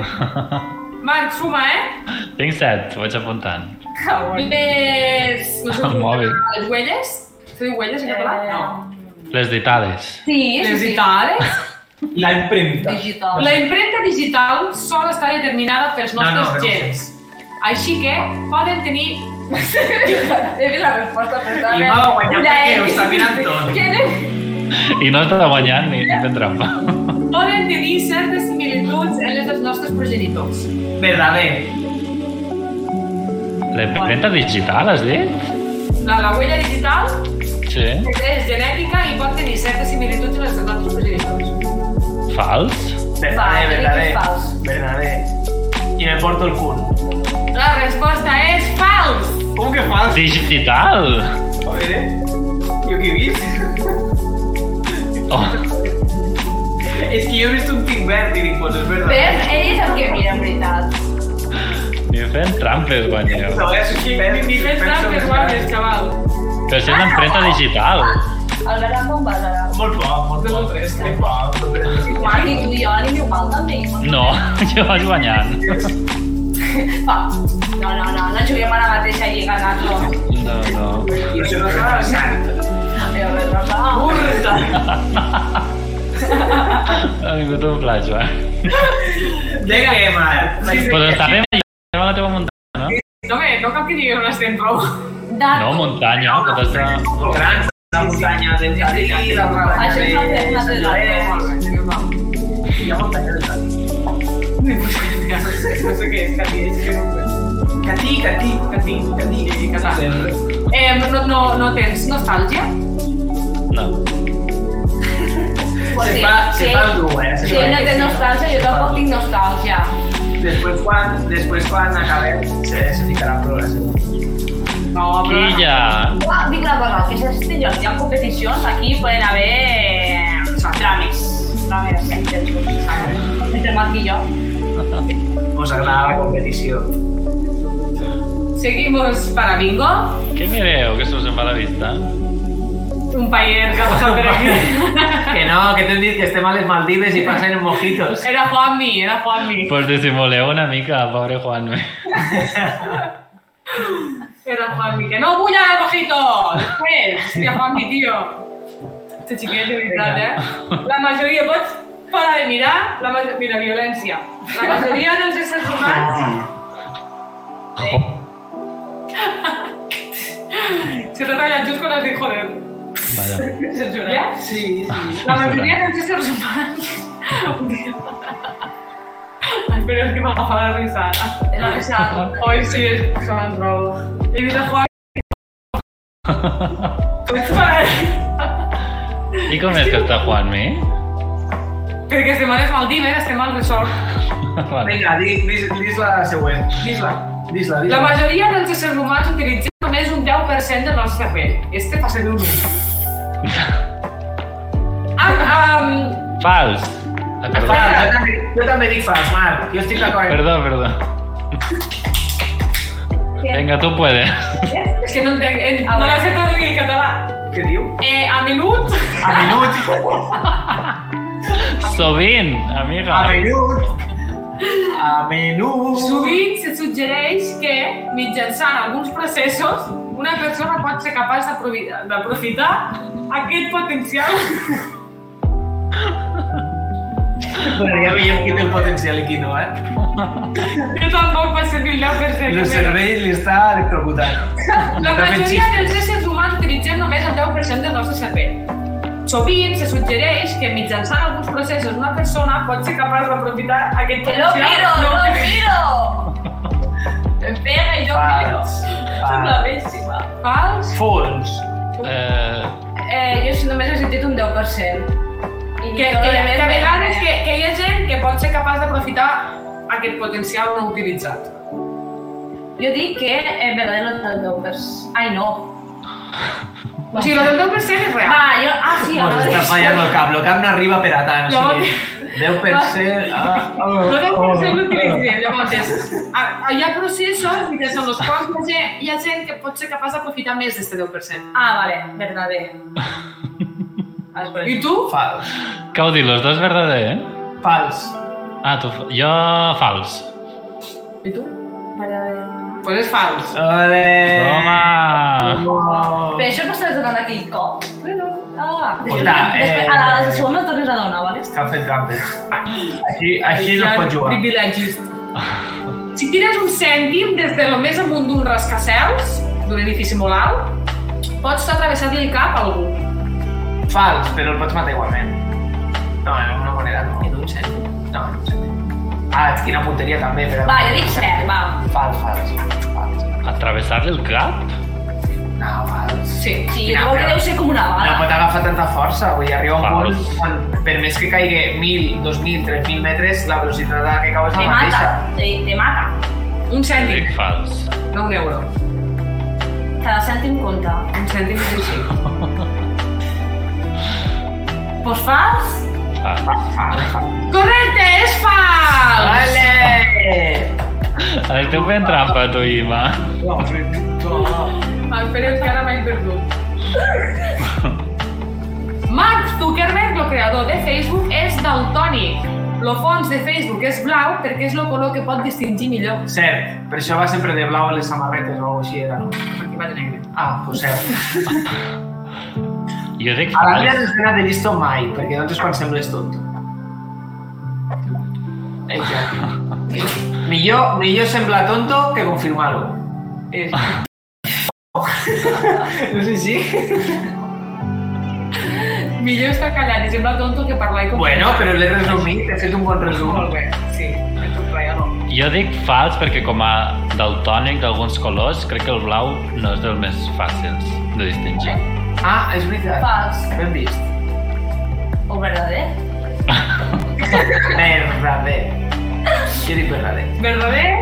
S1: Marc, suma, eh?
S3: Tinc set, ho vaig apuntant.
S1: Les... No sé
S2: Ah,
S1: com
S3: El mòbil.
S1: Les huelles? Se diu huelles en català?
S4: Eh,
S1: No.
S3: Les ditades.
S4: Sí, sí,
S1: Les
S4: sí.
S1: digitales?
S2: La impremta.
S4: Digital.
S1: La impremta digital sol estar determinada pels
S2: No, no,
S1: nostres
S2: però-
S1: gens. Així que poden tenir
S4: Devi la resposta per
S2: I
S4: dare...
S2: va guanyar
S4: la
S2: perché
S4: X.
S2: ho stabilito.
S4: Che ne...
S3: I no t'ha de guanyar ni, ni fent trampa.
S1: Poden tenir certes similituds en les dels nostres progenitors.
S2: Verdader.
S3: L'empremta digital, has dit?
S1: La, la huella digital
S3: Sí.
S1: és genètica i pot tenir certes similituds en les dels nostres progenitors.
S3: Fals?
S2: Verdader,
S4: Va, crec
S2: verdader.
S4: que és fals.
S2: Verdader. I me porto el cul.
S1: La resposta és fals!
S2: Com que fals?
S3: Digital?
S2: A veure, jo què he vist?
S3: Oh,
S2: És que jo he vist un tinc verd i dic, pues
S4: Ves,
S2: és verdad.
S4: ell és el que mira, en veritat.
S3: ni fent trampes guanyeu.
S2: No, és que verd
S1: I fes trampes guardes, xaval.
S3: Però si és l'empremta digital.
S4: El verà com va, serà.
S2: Molt poc, molt poc, res, que poc.
S4: Igual, ni tu i jo, ni mi igual, també.
S3: No, jo vaig guanyant.
S4: Va. No, no, no, no juguem a la mateixa lliga, Nato.
S3: No, no.
S2: I això no s'ha de
S4: Però, però, però,
S2: Burda!
S3: Ha vingut un flashback.
S2: De què, Marc?
S3: Però està bé, estem a la teva muntanya, no?
S1: No, bé, no cal que digueu una estem prou.
S3: No,
S4: Nato.
S3: muntanya, però està...
S2: Gran, la muntanya de Madrid, la muntanya
S4: Això
S2: de...
S4: s'ha fet una de les
S2: Hi ha muntanya de Madrid.
S1: No sé què és, Cati, és que no ho sé.
S2: Catí, Catí, Catí, Catí, Catí.
S1: Eh, no, no, no tens nostàlgia?
S3: No.
S4: Pues
S2: Se
S4: sí,
S2: fa,
S4: sí.
S2: se fa dur, eh? Se
S4: Si
S2: fa
S4: ell no
S2: dur.
S4: té nostàlgia, jo tampoc tinc nostàlgia.
S2: Després quan, després quan acabem, se, se ficarà proves.
S1: No,
S3: Quilla!
S4: Uah, dic la cosa, que és este lloc, hi ha competicions, aquí poden haver... O sigui, trames. Trames, intensos, saps? Entre Marc i jo.
S2: Us agrada la competició.
S1: Seguimos para bingo.
S3: Què mireu, que se us en va la vista?
S1: Un paller que pasa por aquí.
S2: Que no, que t'hem dit que estem a les Maldives i passen en mojitos.
S1: Era Juanmi, era Juanmi.
S3: Pues dissimuleu una mica, pobre Juanme.
S1: Era Juanmi. Que no bulla de mojito. Després, hòstia, Juanmi, tio. Este xiquet, de veritat, eh? La majoria, pots parar de mirar? La majo- Mira, violència. La majoria dels éssers
S2: Ah.
S1: humans
S3: Oh,
S1: se tratan las just con las de joder.
S3: vaja.
S1: Censura, eh?
S2: Sí, sí.
S1: La mayoría de los seres humanos. Ay, pero es que me agafa la risa.
S4: La risa.
S1: Hoy sí es se me han robado. Evita jugar.
S3: I com és que està Juanme?
S1: Crec que estem a les Maldives, estem al resort.
S3: Vale.
S2: Vinga, dis, dis, dis la següent. Dis-la. Dis-la,
S1: La
S2: dis-la.
S1: majoria dels éssers humans utilitzem només un 10% del nostre pell. Este fa ser un um,
S3: Fals! Ah, perdó.
S2: Fals, jo també, jo també dic fals, Marc. Jo estic d'acord. amb-
S3: Perdó, perdó. Vinga, tu puedes.
S1: és que no entenc, eh, no la sé traduir en català.
S2: Què diu?
S1: Eh, a menut,
S2: A menut.
S3: Sovint, amiga.
S2: A menut. A menut.
S1: Sovint se suggereix que, mitjançant alguns processos, una persona pot ser capaç d'aprovi- d'aprofitar aquest potencial.
S2: Però ja veiem qui té el potencial i qui no, eh?
S1: Jo tampoc vaig servir el 10%.
S2: El cervell li està electrocutant.
S1: La
S2: També
S1: majoria
S2: xistes.
S1: dels éssers humans utilitzem només el 10% del nostre cervell. Sovint se suggereix que mitjançant alguns processos una persona pot ser capaç d'aprofitar aquest
S4: ¡Te lo
S1: potencial.
S4: miro, lo miro! Me pega y yo
S2: Fals.
S4: Soc la
S2: Fals.
S4: pésima.
S1: Fals?
S2: Fons.
S3: Eh,
S4: Eh, jo només he sentit un 10%. I
S1: Que, que, que a vegades que, que hi ha gent que pot ser capaç d'aprofitar aquest potencial no utilitzat.
S4: Jo dic que en verdad no del 10%. Ai, no.
S1: O sigui, el del 10% és real.
S4: Va, jo... Ah, sí,
S2: Pues
S4: ara
S2: està fallant el cap, el cap no arriba per a tant.
S1: No.
S2: No. Sí. 10%... Ah, oh,
S1: No deu
S2: oh.
S1: per ser l'utilitzem, llavors és... a- Hi ha processos mitjançant els quals hi ha, gent, hi ha gent que pot ser capaç d'aprofitar més d'aquest 10%.
S4: Ah, vale, verdader. Ah, és per
S1: I
S4: això.
S1: tu?
S2: Fals.
S3: què ho dius, los dos verdader, eh?
S2: Fals.
S3: Ah, tu... fa- Jo, fals.
S1: I tu?
S4: Verdader.
S1: Pues és fals.
S2: Ole.
S3: Toma!
S4: Però això no estàs donant aquell cop. Bueno, ah. Després,
S2: Hola, eh.
S4: després, a la segona el tornes a donar, vale?
S2: Estan fent trampes. Així, així no es pot jugar.
S1: Privilegis. si tires un cèntim des de lo més amunt d'un rascacels, d'un edifici molt alt, pots atravessar-li el cap a algú.
S2: Fals, però el pots matar igualment. No, amb una moneda no. I d'un cèntim? No, no sé. Ah, quina punteria també, però...
S4: Va, jo dic cert, va.
S2: Fals, fals, fals.
S3: Atravessar-li el cap?
S2: No, fals.
S1: Sí.
S4: Sí, jo crec que deu ser com una
S1: Ah.
S2: No
S4: bala.
S2: pot agafar tanta força, vull dir, arriba un punt
S3: Fals.
S2: on, per més que caigui 1.000, 2.000, 3.000 metres, la velocitat a la que cau és
S4: Te
S2: la
S4: mata,
S2: mateixa.
S4: te, te mata.
S1: Un
S3: Jo Dic
S1: cèntim,
S3: fals.
S1: no un euro.
S4: Cada cèntim compta.
S1: Un cèntim és així.
S4: Pues fals?
S3: Fals.
S1: Correcte, és fals!
S2: Vale!
S3: Esteu fent trampa, Eh, tu, Ima.
S1: El Pere encara mai perdut. Mark Zuckerberg, el creador de Facebook, és daltònic. Lo fons de Facebook és blau perquè és el color que pot distingir millor.
S2: Cert, per això va sempre de blau a les samarretes o alguna cosa així era, no?
S1: Perquè va de negre.
S2: Ah, doncs cert.
S3: Jo dic
S2: A la vida
S3: fals.
S2: no has d'anar de llisto mai, perquè doncs és quan sembles tot. Exacte. millor, millor semblar tonto que confirmar-ho. És... no sé si...
S1: Millor estar callat i sembla tonto que parlar i com...
S2: Bueno, però l'he resumit, he fet un bon resum.
S1: Molt bé, sí. Penso que ja no.
S3: Jo dic fals perquè com a daltònic d'alguns colors, crec que el blau no és dels més fàcils de distingir.
S2: Ah, és veritat.
S4: Fals.
S2: Ben vist.
S4: O verdader?
S2: Verdader. Jo dic verdader.
S1: Verdader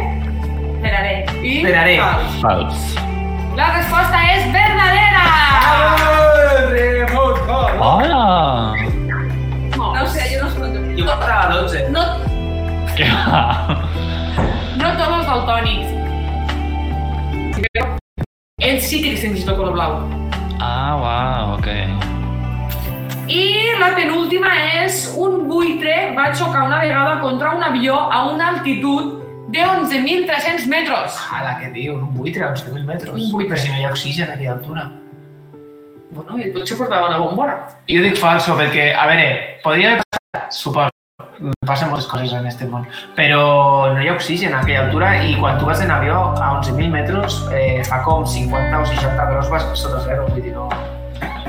S4: Verdader.
S1: i
S2: Verdader.
S1: fals.
S3: Fals.
S1: La resposta és verdadera!
S3: Hola!
S4: No ho sé, jo no escolto.
S2: Jo portava 12.
S1: No,
S3: Què va?
S1: no tots els daltònics. Ells sí que distingeix el color blau.
S3: Ah, uau, ok.
S1: I la penúltima és un buitre va xocar una vegada contra un avió a una altitud de 11.300 metres.
S2: A la que diu, un buitre a uns 1.000 metres.
S1: Un buitre.
S2: Però si no hi ha oxigen a aquella altura.
S1: Bueno, i potser portava una bombona.
S2: Jo dic falso perquè, a veure, podria haver passat, suposo, passen moltes coses en este món, però no hi ha oxigen a aquella altura i quan tu vas en avió a 11.000 metres eh, fa com 50 o 60 graus vas sota zero, vull dir, no,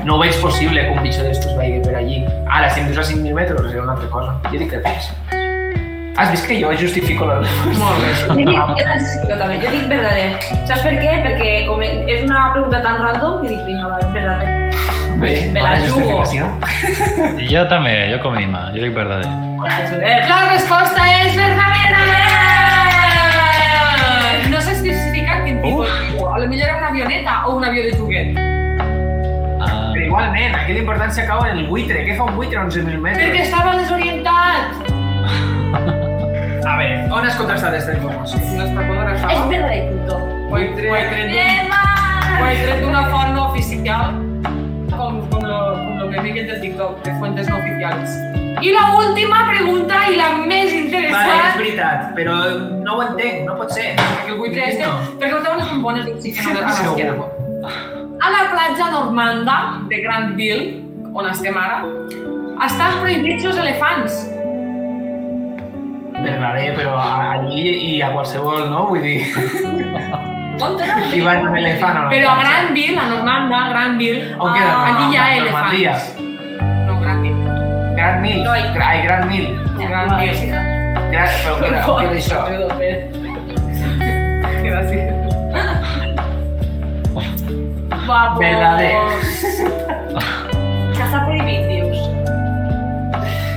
S2: no ho veig possible que un bitxo d'estos vagi per allí. Ara, si em dius a 5.000 metres, és una altra cosa. Jo dic que tens. Has vist que jo justifico Ah, la...
S1: Molt bé.
S4: Jo dic, jo necessito també, jo dic verdader. Saps per què? Perquè com és una pregunta tan random que dic, vinga, va, verdader.
S2: Bé,
S4: Me la
S2: bona
S4: jugo.
S2: justificació.
S3: Jo també, jo com a Ima, jo dic verdader.
S4: Joder.
S1: La resposta és verdadera! Eh, No s'ha especificat quin tipus. Uh. A lo millor era una avioneta o un avió de juguet.
S3: Ah,
S2: Però igualment, aquí l'importància cau en el buitre. Què fa un buitre a
S1: Perquè
S2: 11.000 metres?
S1: estava desorientat.
S2: A veure, on has contrastat aquesta informació?
S1: No està podrà
S4: És verdader, puto.
S1: Ho he tret- ho he tret d'un- ho he tret d'una font no oficial, com, com, lo, com lo que dic del TikTok, de fuentes no oficials. I la última pregunta i la més
S2: Vale, és
S1: interessant,
S2: veritat, però no ho entenc, no pot ser.
S1: perquè el buitre este,
S2: No.
S1: perquè no treuen les bombones d'oxigen a
S2: Segur.
S1: l'esquerra. A la platja d'Ormanda, de Granville, on estem ara, estan prohibits els elefants.
S2: Verdader, però allí i a qualsevol, no? Vull dir,
S4: On tenen?
S2: hi va un elefant o no?
S1: Però a Granville, a Normanda, Granville,
S2: Ah, On queda?
S4: Ah,
S1: aquí hi ha
S2: Normandia.
S1: elefants. No, Granville.
S2: Gran Mil.
S4: No, i-
S2: Ai, Gran Mil.
S1: Gran Bill.
S2: Gran... Però queda, on queda això?
S1: Gràcies.
S4: Vamos.
S2: Verdader.
S4: Que està prohibit, dius.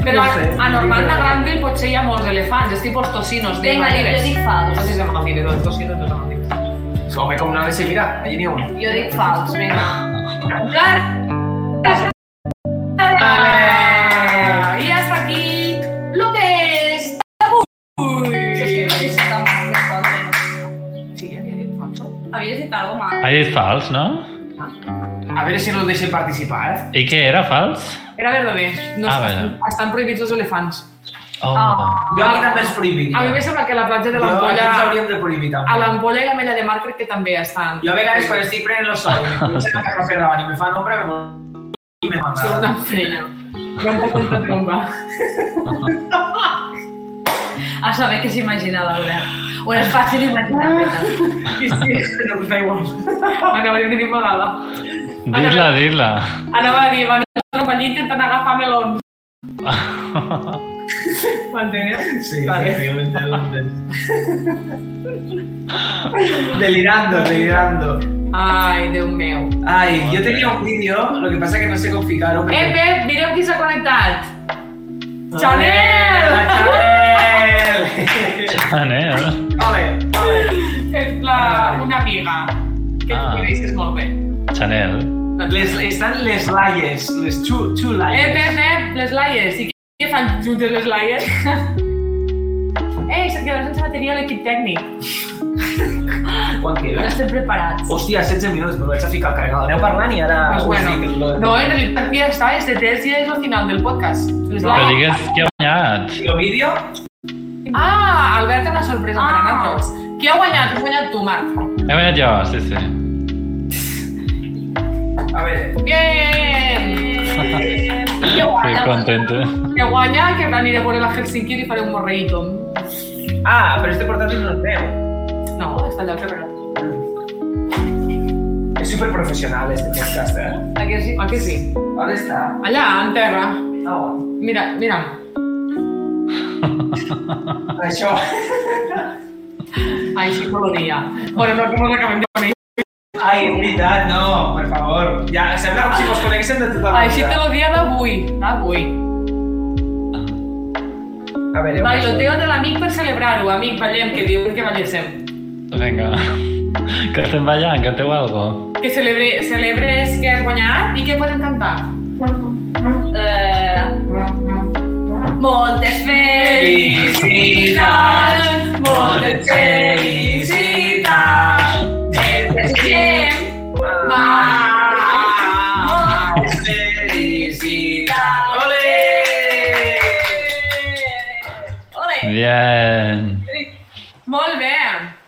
S1: Però
S2: No sé.
S1: a, a Normanda Granville potser hi ha molts elefants, és tipus tocinos de
S4: Vinga, jo, jo
S1: Maldives.
S4: dic
S1: No sé si
S4: fals.
S1: és de Maldives, els tocinos de Maldives.
S2: Home, com no ha de ser, mira, allí n'hi ha un.
S4: Jo dic fals, vinga. Eh,
S1: Ah, I hasta aquí lo que és d'avui. Sí, ja he dit, Fonso.
S4: Havies dit alguna cosa,
S3: ha dit fals, no?
S2: A veure si no el deixen participar, eh?
S3: I què era, fals?
S1: Era verdader. No
S3: Ah,
S1: estan, estan prohibits els elefants.
S3: Oh,
S4: Ah.
S2: Jo aquí també els prohibiria.
S1: A mi em sembla que la platja de
S2: Jo aquí els
S1: l'Ampolla...
S2: hauríem de prohibir,
S1: A
S2: també.
S1: l'Ampolla i la Mella de Mar crec que també estan.
S2: Jo a vegades quan estic prenent el sol, em sembla que no fer davant i me fan ombra, me i me
S1: Són
S2: manda.
S1: una feina. No em puc contar com va.
S4: A saber què s'imaginava Albert. O és fàcil imaginar-ho.
S1: Sí, sí, no, da igual. Anava a dir una vegada.
S3: Dis-la, dis-la.
S1: Anava a dir, van atropellar intentant agafar melons. ¿M'entens?
S2: Sí,
S1: Vale.
S2: efectivamente. delirando, delirando.
S1: Ai, Déu meu.
S2: Ay, yo tenía un vídeo, lo que pasa que no sé configurarlo. pero-
S1: Ep, ep, mireu qui s'ha connectat.
S2: Chanel! Chanel!
S3: Chanel.
S2: Vale, vale.
S1: És la, una amiga, que
S3: Ah.
S1: ah. és molt bé.
S3: Chanel.
S2: Les, están les layers, les two, two
S1: Ep,
S2: layers.
S1: ep, ep, eh, les laies. I què fan juntes les laies? Ei, se't quedarà sense bateria l'equip tècnic.
S2: Quan
S4: No
S2: queda?
S4: estem preparats.
S2: Hòstia, 16 minuts, me'l vaig a ficar al carregador. Aneu parlant i ara...
S1: pues
S2: us
S1: Doncs bueno,
S2: dic lo-
S1: no, en realitat ja està, este test ja és el final del podcast. Les
S3: Però
S1: laies.
S3: digues qui ha guanyat.
S2: El vídeo,
S1: Ah, Albert, té una sorpresa ah. per a
S4: Ah.
S1: nosaltres. Qui ha guanyat? Has guanyat tu, Marc.
S3: He guanyat jo, sí, sí.
S2: a veure,
S1: Bien! Que
S3: Estoy
S1: guanya,
S3: contento.
S1: que guanya, que aniré a veure la Helsinki i faré un morreïto.
S2: Ah, pero este portátil no es veo.
S1: No, està allà al carrer.
S2: Es súper profesional este podcast, ¿eh?
S1: A que sí? A Ah, que sí?
S2: ¿Dónde está?
S1: Allà, en terra.
S2: Ah, bueno.
S1: Mira, mira.
S2: Això.
S1: Així colonia. Bueno, no, com no acabem de conèixer.
S2: Ai, veritat, no, per favor. Ja, sembla com si fos coneguéssim de tota la
S1: Així te lo dia d'avui, d'avui.
S2: A veure, un
S1: Bailoteo de l'amic per celebrar-ho. Amic, ballem, que diu que balléssim.
S3: Vinga. Que estem ballant, canteu algo.
S1: Que celebre, celebres que has guanyat i que podem cantar.
S4: Eh, moltes felicitats,
S2: Felicitats,
S4: moltes felicitats, moltes felicitats,
S1: Ah!
S2: moment. Felicitat.
S4: Ole!
S3: Bien.
S1: Molt bé.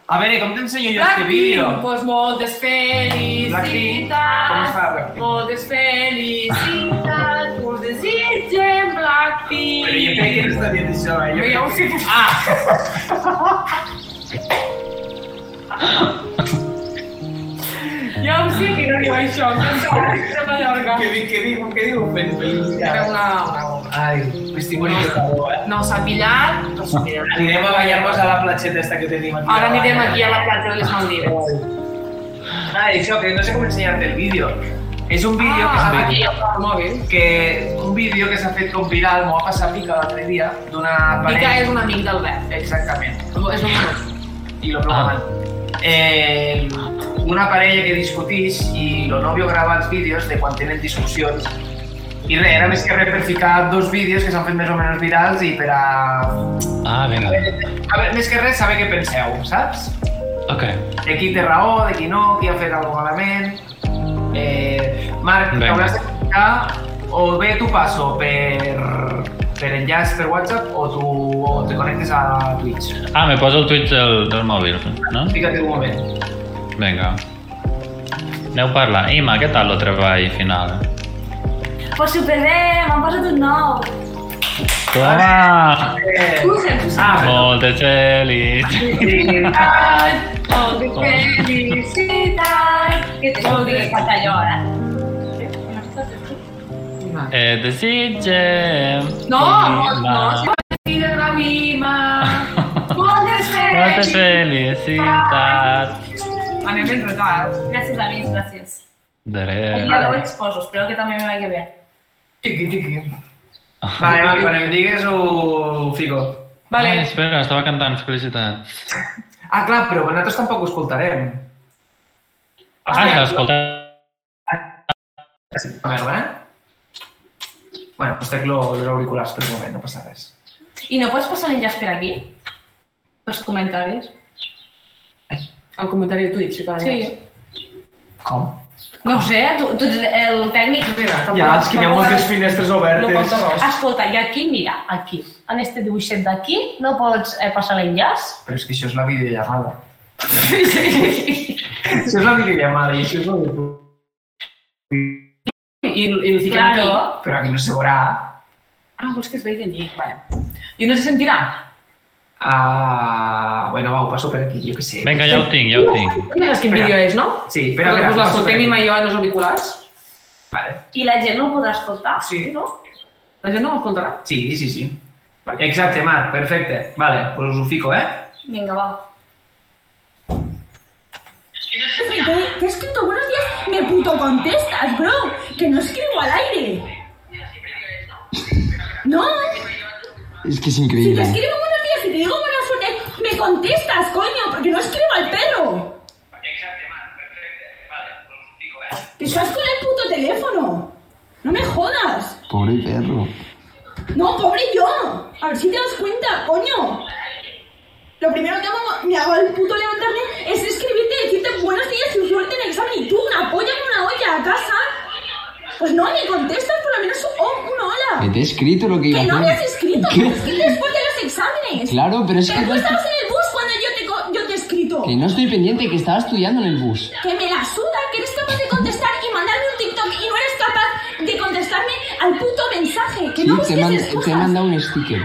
S2: A veure, com t'ensenyo jo este vídeo?
S1: Blackpink, pues moltes
S2: Blackpink, com
S1: felicitats.
S2: està Blackpink?
S1: Moltes felicitats. Us desitgem
S2: Però jo
S1: Blackpink.
S2: crec que no està dient això, eh?
S1: Però ja ho
S2: Jo
S1: sé que... Ah! ja ho sé que no diu això, que em sembla que és una llarga.
S2: crec que... Què diu? Què diu? Fel-
S1: Era
S2: Felicitat.
S1: una...
S2: Ai, m'estic morint de calor, eh?
S1: No s'ha pillat, no s'ha pillat.
S2: Anirem a ballar-nos a la platxeta esta que tenim aquí.
S1: Ara anirem aquí a la platja de les Maldives.
S2: Ah, això, que no sé com ensenyar-te el vídeo. És un vídeo
S1: Ah,
S2: que s'ha
S1: aquí
S2: fet...
S1: al mòbil.
S2: que un vídeo que s'ha fet com viral, m'ho va passar Pica l'altre dia, d'una
S1: Pica
S2: parella...
S1: és un amic d'Albert.
S2: Exactament.
S1: És un amic.
S2: I lo plomaven. Eh, una parella que discutix i el novio grava els vídeos de quan tenen discussions i res, era més que res per ficar dos vídeos que s'han fet més o menys virals i per a...
S3: Ah, vinga.
S2: a veure, més que res, saber què penseu, saps?
S3: Ok.
S2: de qui té raó, de qui no, qui ha fet alguna cosa malament. Eh, Marc,
S3: Vinga.
S2: t'hauràs de connectar o bé tu passo per, per enllaç per WhatsApp o tu o te connectes a Twitch.
S3: Ah, me poso el Twitch del, del mòbil, no?
S2: Fica't un moment.
S3: Vinga. Aneu parlant. Ima, què tal el treball final?
S4: Pues superbé, m'han posat un nou.
S3: Toma!
S2: Eh,
S4: Susan, Susan.
S2: ah, però...
S3: Moltes feliç.
S4: Felicitats, moltes felicitats. Que te juro que falta jo, ara.
S3: Et Eh, desitgem...
S1: No,
S3: com
S1: no,
S3: la-
S1: no, si de la mima.
S4: Moltes
S3: Moltes
S4: felicitats.
S3: felicitats.
S1: Anem en retard.
S4: Gràcies, amics, gràcies.
S3: De
S4: I
S3: res.
S4: ja veu exposo, espero que també me vagi bé.
S2: Tiqui, tiqui. Vale, vale, quan em digues ho fico.
S3: Ai,
S1: Vale.
S3: espera, estava cantant felicitats.
S2: Ah, clar, però nosaltres tampoc ho escoltarem.
S3: Ah, s'ha escoltat.
S2: A veure, eh? Bueno, doncs pues tec lo- los auriculars per un moment, no passa res.
S4: I no pots passar l'enllaç per aquí? Pels comentaris?
S1: El comentari de Twitch, si
S4: Sí.
S2: Com?
S4: No ho sé, eh, tu, tu ets el tècnic...
S2: Ja, és que hi ha moltes finestres obertes.
S1: No falta res.
S4: Escolta, i aquí, mira, aquí, en este dibuixet d'aquí, no pots eh, passar l'enllaç?
S2: Però és que això és la videollamada. això és la videollamada i això és el...
S1: I, i el fiquem
S4: Claro.
S1: aquí.
S2: Però aquí no se veurà.
S1: Ah, vols que es vegi allí? Vale. I no se sentirà?
S2: Ah, bueno, va, ho passo per aquí, jo què sé.
S3: Vinga, ja ho tinc, ja ho tinc.
S1: Mires quin vídeo és, no?
S2: Sí, espera,
S1: Però
S2: espera.
S1: que us
S2: passo
S1: l'escoltem
S2: per aquí.
S1: Ima doncs i jo en els auriculars.
S2: Vale.
S4: I la gent no ho podrà escoltar,
S2: Sí.
S4: no?
S1: La gent no m'escoltarà.
S2: Sí, sí, sí. Exacte, Marc, perfecte. Vale, pues us ho fico, eh?
S4: Vinga, va.
S5: Te he escrito buenos días, me puto contestas, bro, que no escribo al aire. No,
S6: Es que es
S5: si te
S6: increíble.
S5: escribo buenos días y te digo buena suerte, me contestas, coño, porque no escribo al perro. Te estás con el puto teléfono. No me jodas.
S6: Pobre perro.
S5: No, pobre yo. A ver si te das cuenta, coño. Lo primero que hago, me hago al puto levantarme es escribirte y decirte buenos días y suerte en el examen. Y tú, una polla con una olla a casa. Pues no, me contestas por lo menos un- una
S6: Que
S5: hola.
S6: te he escrito lo que iba a
S5: Que no me has
S6: hacer.
S5: escrito,
S6: ¿Qué?
S5: me has escrito después de los exámenes.
S6: Claro, pero es que,
S5: Pero tú estabas en el bus cuando yo te, co- yo te he escrito.
S6: que no estoy pendiente, que estaba estudiando en el bus.
S5: Que me la suda, que eres capaz de contestar y mandarme un TikTok y no eres capaz de contestarme al puto mensaje. Que
S6: Sí,
S5: no
S6: te,
S5: busques
S6: he mand- te he
S5: excusas.
S6: mandado un sticker.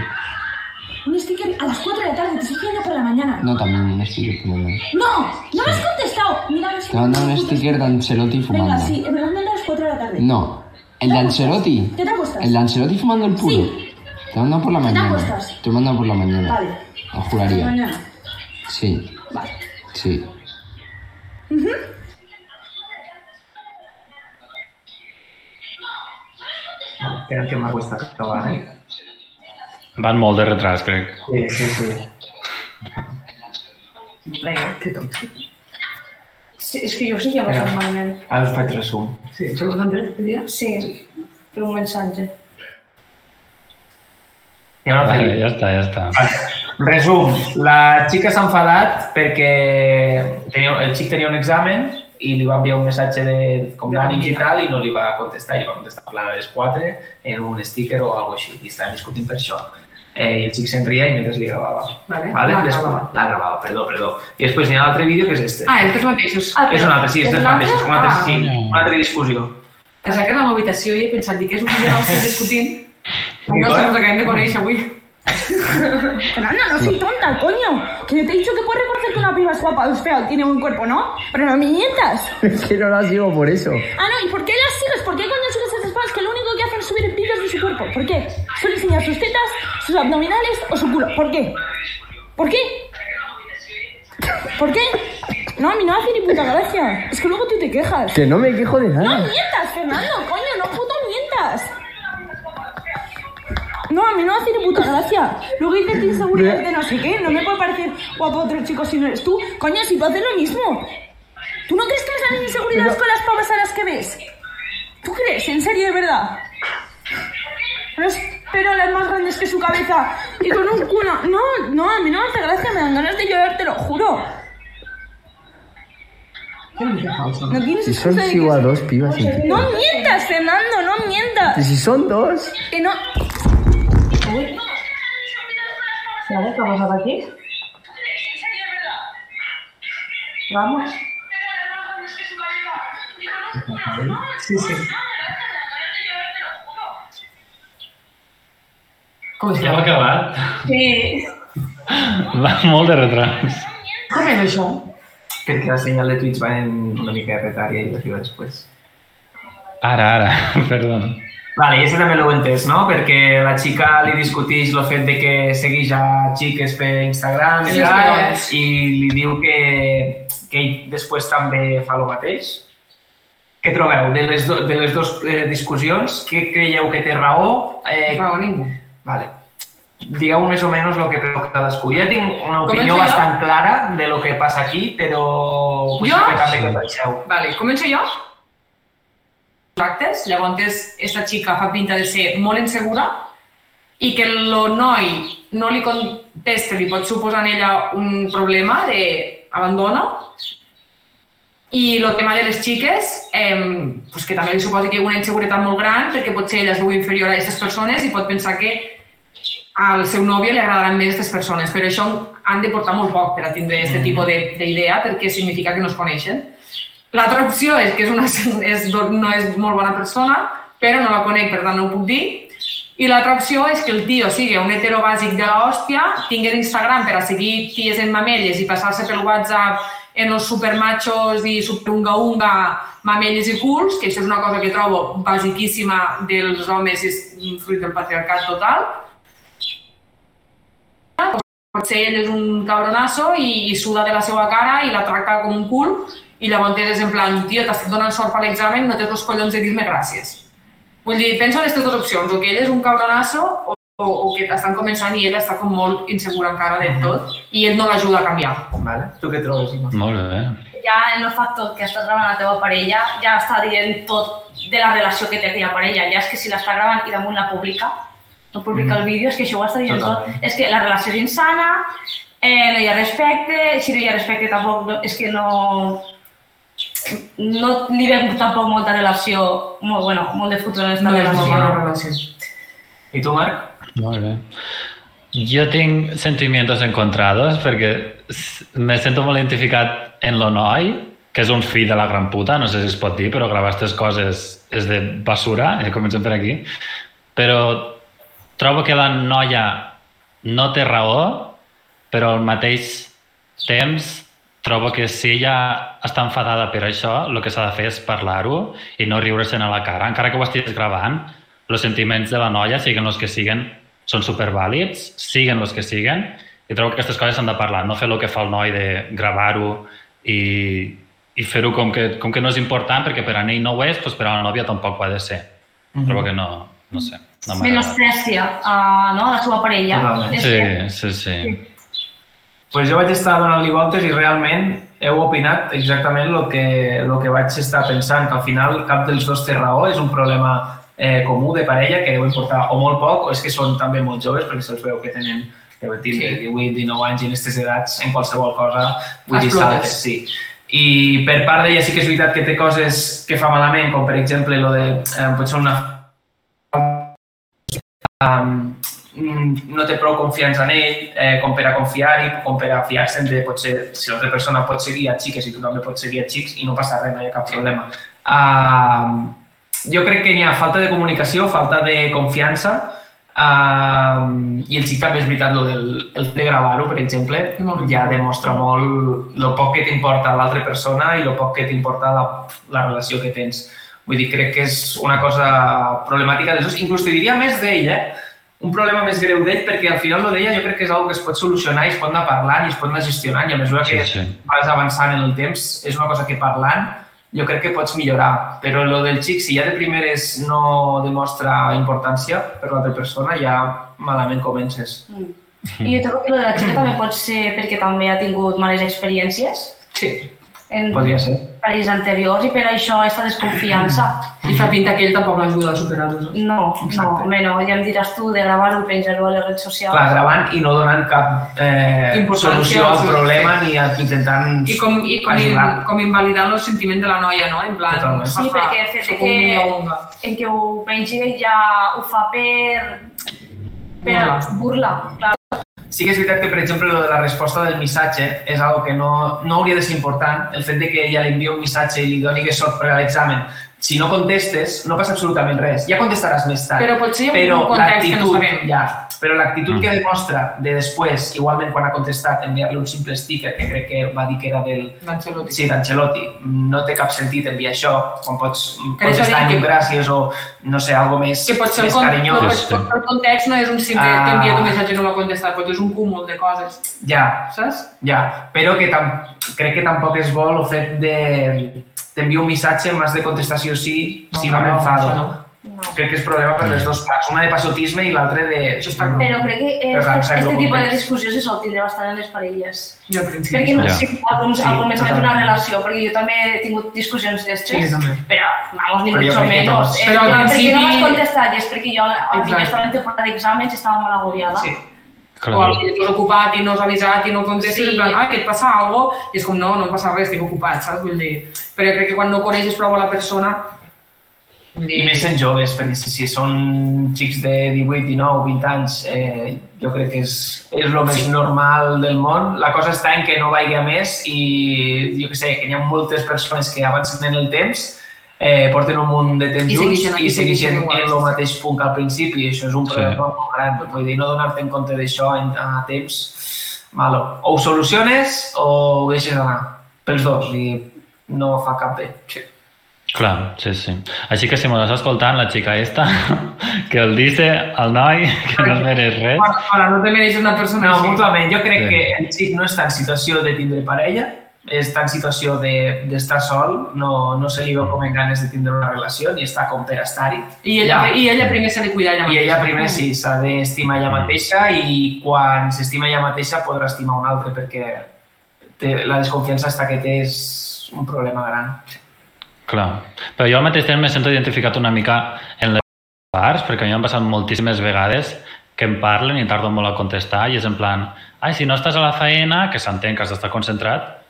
S5: Un sticker a las 4 de la tarde, te estoy escribiendo por la mañana.
S6: No, también un sticker. te he mandado.
S5: ¡No! ¡No me has contestado! Mira,
S6: Te he mandado un sticker de Ancelotti
S5: Venga,
S6: fumando.
S5: sí, me lo mandan a las 4 de la tarde.
S6: No, el de Ancelotti.
S5: ¿Qué te acuestas?
S6: El de Ancelotti fumando el puro.
S5: Sí.
S6: Te lo he mandado por la
S5: ¿Qué te
S6: mañana.
S5: acuestas?
S6: Te lo he mandado por la mañana.
S5: Vale.
S6: Lo
S5: Hasta
S6: juraría.
S5: mañana.
S6: Sí,
S5: Vale.
S6: sí.
S2: Espera que m'ha cuesta acabar, eh?
S3: Van molt de retras, crec.
S2: Sí, sí, sí. Vinga, que tot.
S4: Sí, és que jo sí que
S2: Espera.
S4: passat malament.
S2: Ara us faig resum. Sí,
S1: Això ho entens, dia?
S4: Sí, per un missatge.
S2: I ara
S3: Vale,
S2: faig-
S3: ja està, ja està.
S2: Resum, la xica s'ha enfadat perquè tenia, el xic tenia un examen i li va enviar un missatge de com d'ànims i tal i no li va contestar, i va contestar a les 4 en un sticker o alguna així i estaven discutint per això. Eh, I el xic se'n ria i mentre li gravava.
S1: Vale,
S2: Vale?
S1: la
S2: Des-
S1: gravava.
S2: La gravava, perdó, perdó. I després n'hi ha un altre vídeo que és este.
S1: Ah, és dels mateixos.
S4: Ah,
S2: és un altre, sí, és
S1: és
S2: dels
S1: un altre?
S2: mateixos, és un altre,
S1: Ah.
S2: sí, una altra discussió.
S1: Es que la habitació i he pensat, dic, és un vídeo que estem discutint.
S2: I
S1: No
S2: clar.
S1: sé, ens acabem de conèixer avui.
S5: Fernanda, no soy tonta, coño. Que yo te he dicho que puedes reconocer que una piba es guapa o es fea o tiene buen cuerpo, ¿no? Pero no me mientas.
S6: que no la sigo por eso.
S5: Ah, no, ¿y por qué las sigues? ¿Por qué cuando sigues a estas fans que lo único que hacen es subir vídeos de su cuerpo? ¿Por qué? ¿Suele enseñar sus tetas, sus abdominales o su culo? ¿Por qué? ¿Por qué? ¿Por qué? No, a mí no me hace ni puta gracia. Es que luego tú te quejas.
S6: Que no me quejo de
S5: No mientas, Fernando, coño, no puto mientas. No, a mí no me hace ni puta gracia. Luego dices tu inseguridad de no sé qué. No me puede parecer guapo otro chico si no eres tú. Coño, si tú haces lo mismo. ¿Tú no crees que me salen inseguridades con las pavas a las que ves? ¿Tú crees? ¿En serio, de verdad? No espero las más grandes que su cabeza y con un culo. No, no, a mí no me hace gracia. Me dan ganas de llorar, te lo juro. No tienes excusa de Pues que-
S6: dos pibas.
S5: no mientas, Fernando, no mientas.
S6: si son dos.
S5: Que no.
S4: Vale, què ha passat aquí? Vamos.
S1: Sí, sí. Com és,
S3: Ja hem
S1: això?
S3: acabat.
S4: Sí.
S3: Van molt de retras.
S1: Com és això?
S2: Perquè la senyal de Twitch va en una mica de retard i arriba després.
S3: Ara, ara, perdó.
S2: Vale, i això també l'heu entès, no? Perquè la xica li discutix el fet de que segueix a xiques per Instagram i,
S1: Sí,
S2: tal,
S1: sí.
S2: i li diu que, que ell després també fa el mateix. Què trobeu? De les, do, de les dues eh, discussions, què creieu que té raó? Eh,
S1: Raó ningú.
S2: Vale. Digueu més o menys el que creu cadascú. Jo tinc una
S1: Començo
S2: opinió
S1: jo?
S2: bastant clara de lo que passa aquí, però... vull
S1: Jo?
S2: saber també què penseu.
S1: Vale, començo jo? Actes. Llavors, esta xica fa pinta de ser molt insegura i que el noi no li contesta, li pot suposar en ella un problema d'abandono. I el tema de les xiques, eh, pues que també li suposa que hi ha una inseguretat molt gran perquè potser ella es veu inferior a aquestes persones i pot pensar que al seu nòvio li agradaran més aquestes persones, però això han de portar molt poc per a tindre aquest tipus de- d'idea perquè significa que no es coneixen. L'altra opció és que és una, és, do- no és molt bona persona, però no la conec, per tant no ho puc dir. I l'altra opció és que el tio sigui un hetero bàsic de l'hòstia, tingui l'Instagram per a seguir ties en mamelles i passar-se pel WhatsApp en els supermachos i superunga-unga, mamelles i culs, que això és una cosa que trobo basiquíssima dels homes i és fruit del patriarcat total. Potser ell és un cabronasso i, i suda de la seva cara i la tracta com un cul i llavors és en plan, tio, t'estic donant sort per l'examen, no tens els collons de dir-me gràcies. Vull dir, penso en aquestes dues opcions, o que ell és un cabronasso o, o, o que t'estan començant i ell està com molt insegur encara de
S2: Mhm.
S1: tot i ell no l'ajuda a canviar.
S2: Vale. Tu què trobes, Ima?
S3: Molt bé.
S4: Ja en el factor que estàs gravant la teva parella, ja està dient tot de la relació que té aquella parella. Ja és que si l'està gravant i damunt la publica, no
S1: Mm.
S4: publica el vídeo, és que això ho està dient tot.
S2: Totalment.
S4: És que la relació és insana, eh, no hi ha respecte, si no hi ha respecte tampoc, no, és que no... No li veig tampoc molta relació, molt, bueno, molt de futur en aquesta
S1: No és molt
S4: relació.
S1: bona relació.
S2: I tu, Marc?
S3: Molt bé. Jo tinc sentiments encontrados perquè s- me sento molt identificat en lo noi, que és un fill de la gran puta, no sé si es pot dir, però gravar aquestes coses és de basura, eh, comencem per aquí. Però trobo que la noia no té raó, però al mateix temps trobo que si ella està enfadada per això, el que s'ha de fer és parlar-ho i no riure-se'n a la cara. Encara que ho estiguis gravant, els sentiments de la noia, siguin els que siguen, són supervàlids, siguen els que siguen, i trobo que aquestes coses s'han de parlar, no fer el que fa el noi de gravar-ho i, i fer-ho com, que, com que no és important, perquè per a ell no ho és, doncs per a la nòvia tampoc ho ha de ser. Trobo que no, no sé. No m'agrada.
S4: Menosprecia a, no, a la seva parella.
S2: Totalment.
S4: És
S3: Sí,
S4: que-
S3: sí, sí.
S2: pues jo vaig estar donant-li voltes i realment heu opinat exactament el que, el que vaig estar pensant, que al final cap dels dos té raó, és un problema eh, comú de parella que deu importar o molt poc o és que són també molt joves perquè se'ls veu que tenen deu tindre 18, 19 anys i en aquestes edats en qualsevol cosa vull dir, s'ha de
S1: Explotes.
S2: fer, sí. I per part d'ella sí que és veritat que té coses que fa malament, com per exemple lo de eh, potser una um, no té prou confiança en ell, eh, com per a confiar-hi, com per a fiar-se'n de potser si l'altra persona pot seguir a xiques i tu també pots seguir a xics i no passa res, no hi ha cap problema. Um, jo crec que n'hi ha falta de comunicació, falta de confiança, um, i el xic també és veritat, lo del, el de gravar-ho, per exemple, ja demostra molt el poc que t'importa l'altra persona i el poc que t'importa la, la relació que tens. Vull dir, crec que és una cosa problemàtica dels dos. Inclús te diria més d'ell, eh? un problema més greu d'ell, perquè al final lo d'ella jo crec que és una que es pot solucionar i es pot anar parlant i es pot anar gestionant i a mesura que
S3: Sí, sí.
S2: vas avançant en el temps, és una cosa que parlant jo crec que pots millorar, però lo del xic, si ja de primeres no demostra importància per l'altra persona, ja malament comences.
S4: mm. I jo trobo que lo de la xica també pot ser perquè també ha tingut males experiències
S2: Sí,
S4: en
S2: podria ser.
S4: parells anteriors i per això aquesta desconfiança.
S1: I fa pinta que ell tampoc l'ajuda a superar-los.
S4: No, no,
S2: Exacte.
S4: bé, no, ja em diràs tu de gravar-ho, penjar-ho a les redes socials.
S2: Clar, gravant i no donant cap eh,
S1: Importància,
S2: solució al
S1: sí.
S2: problema ni a- intentant
S1: I com, i com,
S2: ajudar.
S1: com invalidant el sentiment de la noia, no? En plan,
S2: Totalment.
S1: fa-
S4: Sí,
S1: fa-
S4: perquè el fet
S1: sóc
S4: que-
S1: un milonga.
S4: En què ho pengi ja ho fa per... per
S1: Burla.
S4: burla. Clar,
S2: Sí que és veritat que, per exemple, lo de la resposta del missatge és algo que no, no hauria de ser important. El fet de que ella li envia un missatge i li doni que sort per a l'examen. Si no contestes, no passa absolutament res. Ja contestaràs més tard.
S1: Però potser hi ha
S2: Però
S1: un context que no
S2: l'actitud-
S1: sabem.
S2: Ja, però l'actitud
S3: Mm.
S2: que demostra de després, igualment quan ha contestat, enviar-li un simple sticker, que crec que va dir que era del,
S1: L'Ancelotti.
S2: Sí, d'Ancelotti. No té cap sentit enviar això, quan pots
S1: Però això
S2: contestar
S1: dic
S2: en un
S1: que-
S2: gràcies o, no sé, algo més,
S1: Que pot ser el,
S2: més
S1: con no,
S2: carinyós.
S1: pot, pot, el context no és un simple
S2: Ah.
S1: que envia un missatge i no l'ha contestat, potser és un cúmul de coses,
S2: Ja,
S1: saps?
S2: ja. Però que tam crec que tampoc es vol el fet de... T'envio un missatge, m'has de contestar sí o sí,
S1: No,
S2: si
S1: no,
S2: no,
S1: no,
S2: m'enfado.
S1: això
S2: No,
S1: no.
S4: no.
S2: Crec que és problema per les dues parts. Una de passotisme i l'altra de...
S1: Això està clar.
S4: Però crec que
S2: Però clar,
S4: aquest,
S2: sembla
S4: aquest
S2: molt
S4: tipus
S2: bé.
S4: de discussió se sol tindre bastant en les parelles.
S1: I al principi.
S4: Perquè no
S3: Ja.
S4: sé, al, com-
S2: Sí,
S4: al començament d'una
S2: totalment.
S4: relació, perquè jo també he tingut discussions d'estres,
S2: Sí, també.
S4: però, vamos, ni
S2: Però jo
S4: mucho
S2: crec que
S4: menos.
S2: tots.
S4: Eh,
S1: Però al
S4: perquè no
S1: principi-
S4: m'has contestat, i és perquè jo al
S1: Exacte.
S4: primer estava en temporada d'exàmens i estava molt agobiada.
S2: Sí.
S3: Clar.
S1: O algú és ocupat i no has avisat i no contestes,
S4: Sí.
S1: sí. en plan, ah, que et passa alguna cosa, i és com, no, no em passa res, estic ocupat, saps? Vull dir, però jo crec que quan no coneixes prou a la persona... vull dir,
S2: I més en joves, perquè si, si són xics de 18, 19, 20 anys, eh, jo crec que és, és el més normal del món. La cosa està en que no vagi a més i jo que sé, que hi ha moltes persones que avancen en el temps eh, porten un munt de temps
S1: I
S2: junts
S1: segueixen-
S2: i
S1: i segueixen
S2: segueixen en
S1: iguals.
S2: el mateix punt que al principi, i això és un problema molt gran, vull dir, no donar-te en compte d'això en- a temps, malo. O ho soluciones o ho deixes anar, pels dos, i no fa cap bé. Sí.
S3: Clar, sí, sí. Així que si m'ho estàs escoltant, la xica esta, que el dice al noi, que no es mereix res.
S1: Para, para, eh? no te mereix una persona
S2: No,
S1: així.
S2: mútuament. Jo crec
S3: Sí.
S2: que el xic no està en situació de tindre parella, està en situació de- d'estar de, sol, no, no se li veu com en ganes de tindre una relació, ni està com per estar-hi.
S1: I ella,
S2: Ja.
S1: i ella primer s'ha de cuidar ella
S2: I
S1: mateixa.
S2: ella primer sí, s'ha d'estimar ella
S3: Mm.
S2: mateixa i quan s'estima ella mateixa podrà estimar un altre perquè té, la desconfiança està que té és un problema gran.
S3: Clar. Però jo al mateix temps me sento identificat una mica en les parts, perquè a mi m'han passat moltíssimes vegades que em parlen i tardo molt a contestar i és en plan, ai, si no estàs a la feina, que s'entén que has d'estar concentrat,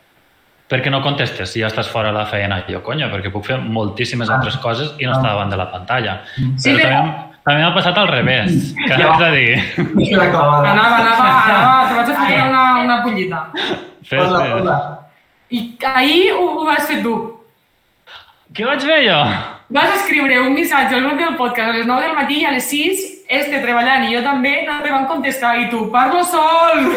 S3: per què no contestes si ja estàs fora de la feina? I jo, conya, perquè puc fer moltíssimes
S2: Ah.
S3: altres coses i no
S2: Ah.
S3: estar davant de la pantalla.
S1: Sí,
S3: però
S1: però-
S3: també, també m'ha passat al revés, que ja.
S2: Ja.
S3: és a dir,
S2: La clavada.
S1: Anava, anava, anava, te vaig a ficar una, una pollita.
S3: fes,
S2: Hola, hola.
S3: fes.
S1: I ahir ho, ho vas fer tu.
S3: Què vaig fer jo?
S1: Vas escriure un missatge al grup del podcast a les 9 del matí i a les 6, este treballant i jo també, no te van contestar. I tu, parlo sol!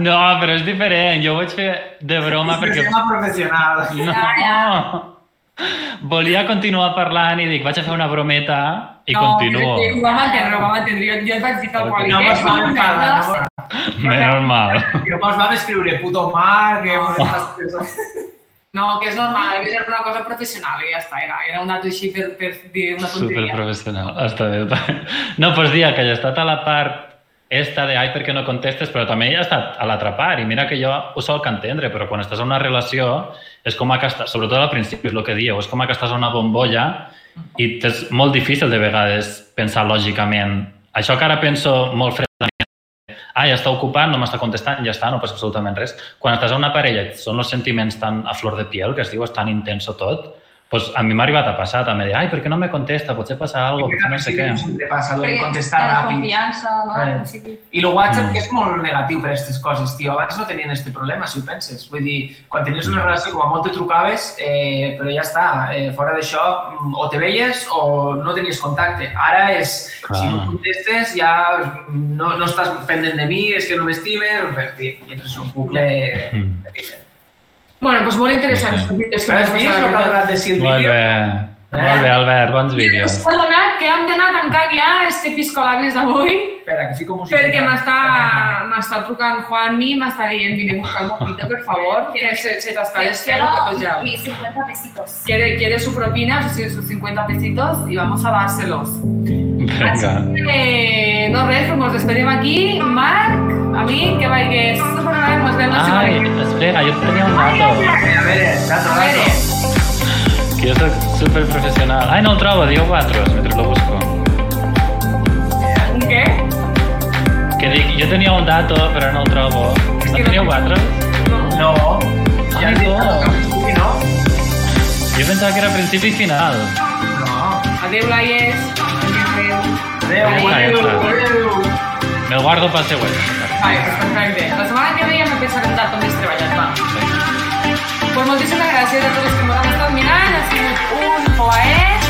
S3: No, però és diferent, jo ho vaig fer de broma perquè...
S2: Sistema professional.
S3: No. Volia continuar parlant i dic, vaig a fer una brometa i
S1: no,
S3: continuo.
S1: crec que Ho vam entendre, ho vam entendre. Jo, jo et vaig dir tal qual.
S2: No
S1: Eh,
S2: mos va enfadar, no mos-
S3: Menys mal.
S2: no mos vam escriure puto mar, que... Home,
S1: No, que és normal, havia era una cosa professional i ja està, era, era un dato així per, per dir una tonteria.
S3: Superprofessional. Està bé. està bé. No, doncs dia que ja he estat a la part esta de ai, per què no contestes, però també ja he estat a l'altra part i mira que jo ho solc entendre, però quan estàs en una relació és com a que estàs, sobretot al principi és el que dieu, és com a que estàs a una bombolla i és molt difícil de vegades pensar lògicament. Això que ara penso molt fredament, ah, ja està ocupat, no m'està contestant, ja està, no passa absolutament res. Quan estàs a una parella i són els sentiments tan a flor de piel, que es diu, és tan intenso tot, doncs a mi m'ha arribat a passar també, de, ai, per què no me contesta, potser passa alguna cosa, potser no sé què.
S2: Sempre passa lo de
S4: Perquè
S2: contestar
S4: la
S2: ràpid.
S4: desconfiança, no?
S2: Eh.
S4: Al principi.
S2: I el WhatsApp
S3: Mm.
S2: que és molt negatiu per a aquestes coses, tio. Abans no tenien aquest problema, si ho penses. Vull dir, quan tenies una
S3: Mm.
S2: relació, com a molt te trucaves, eh, però ja està. Eh, fora d'això, mm, o te veies o no tenies contacte. Ara és,
S3: Clar.
S2: si no contestes, ja no, no estàs pendent de mi, és que no m'estimes, res, tio. I entres en un bucle...
S3: Mm.
S1: Bueno, doncs molt interessant.
S3: Sí.
S1: És
S2: Has vist el que ha donat de si el
S3: Molt
S2: vídeo?
S3: bé. Molt bé, Albert, bons vídeos.
S1: S'ha donat que hem d'anar a tancar ja este piscolagres d'avui
S2: Espera, que fico música.
S1: perquè m'està m'està trucant Juanmi, m'està dient vine a buscar un poquito, per favor, que se, se t'està
S4: Quiero
S1: desfent tot ja.
S4: mis 50 pesitos.
S1: Quiere, quiere su propina, sus- sus 50 pesitos y vamos a dárselos. Así
S3: Vinga.
S1: que, no res, pues nos despedimos aquí. Marc, a mí, que vayas. Nos vemos la semana
S3: Ai,
S1: que viene.
S3: espera, jo tenia un dato.
S2: A veure, dato,
S1: A ver, ¿eh?
S2: dato.
S3: Que jo soc superprofessional. Ai, no el trobo, diu Batros, mentre lo busco.
S1: ¿un qué?
S3: Que dic, jo tenia un dato, però no el trobo. No teníeu Batros?
S2: No. Ja
S3: Ai,
S2: has dit
S3: no.
S2: que no. No.
S3: Jo pensava que era principi i final.
S2: No.
S1: Adeu, Laies.
S2: Adéu,
S1: Ai,
S2: adéu,
S3: clar.
S2: adéu.
S3: Me'l guardo pel següent.
S1: Vale, pues perfecte. La setmana que ve ja m'empieza a cantar com més treballat, va. Pues moltíssimes gràcies a tots els que m'han estat mirant. Ha sigut un plaer.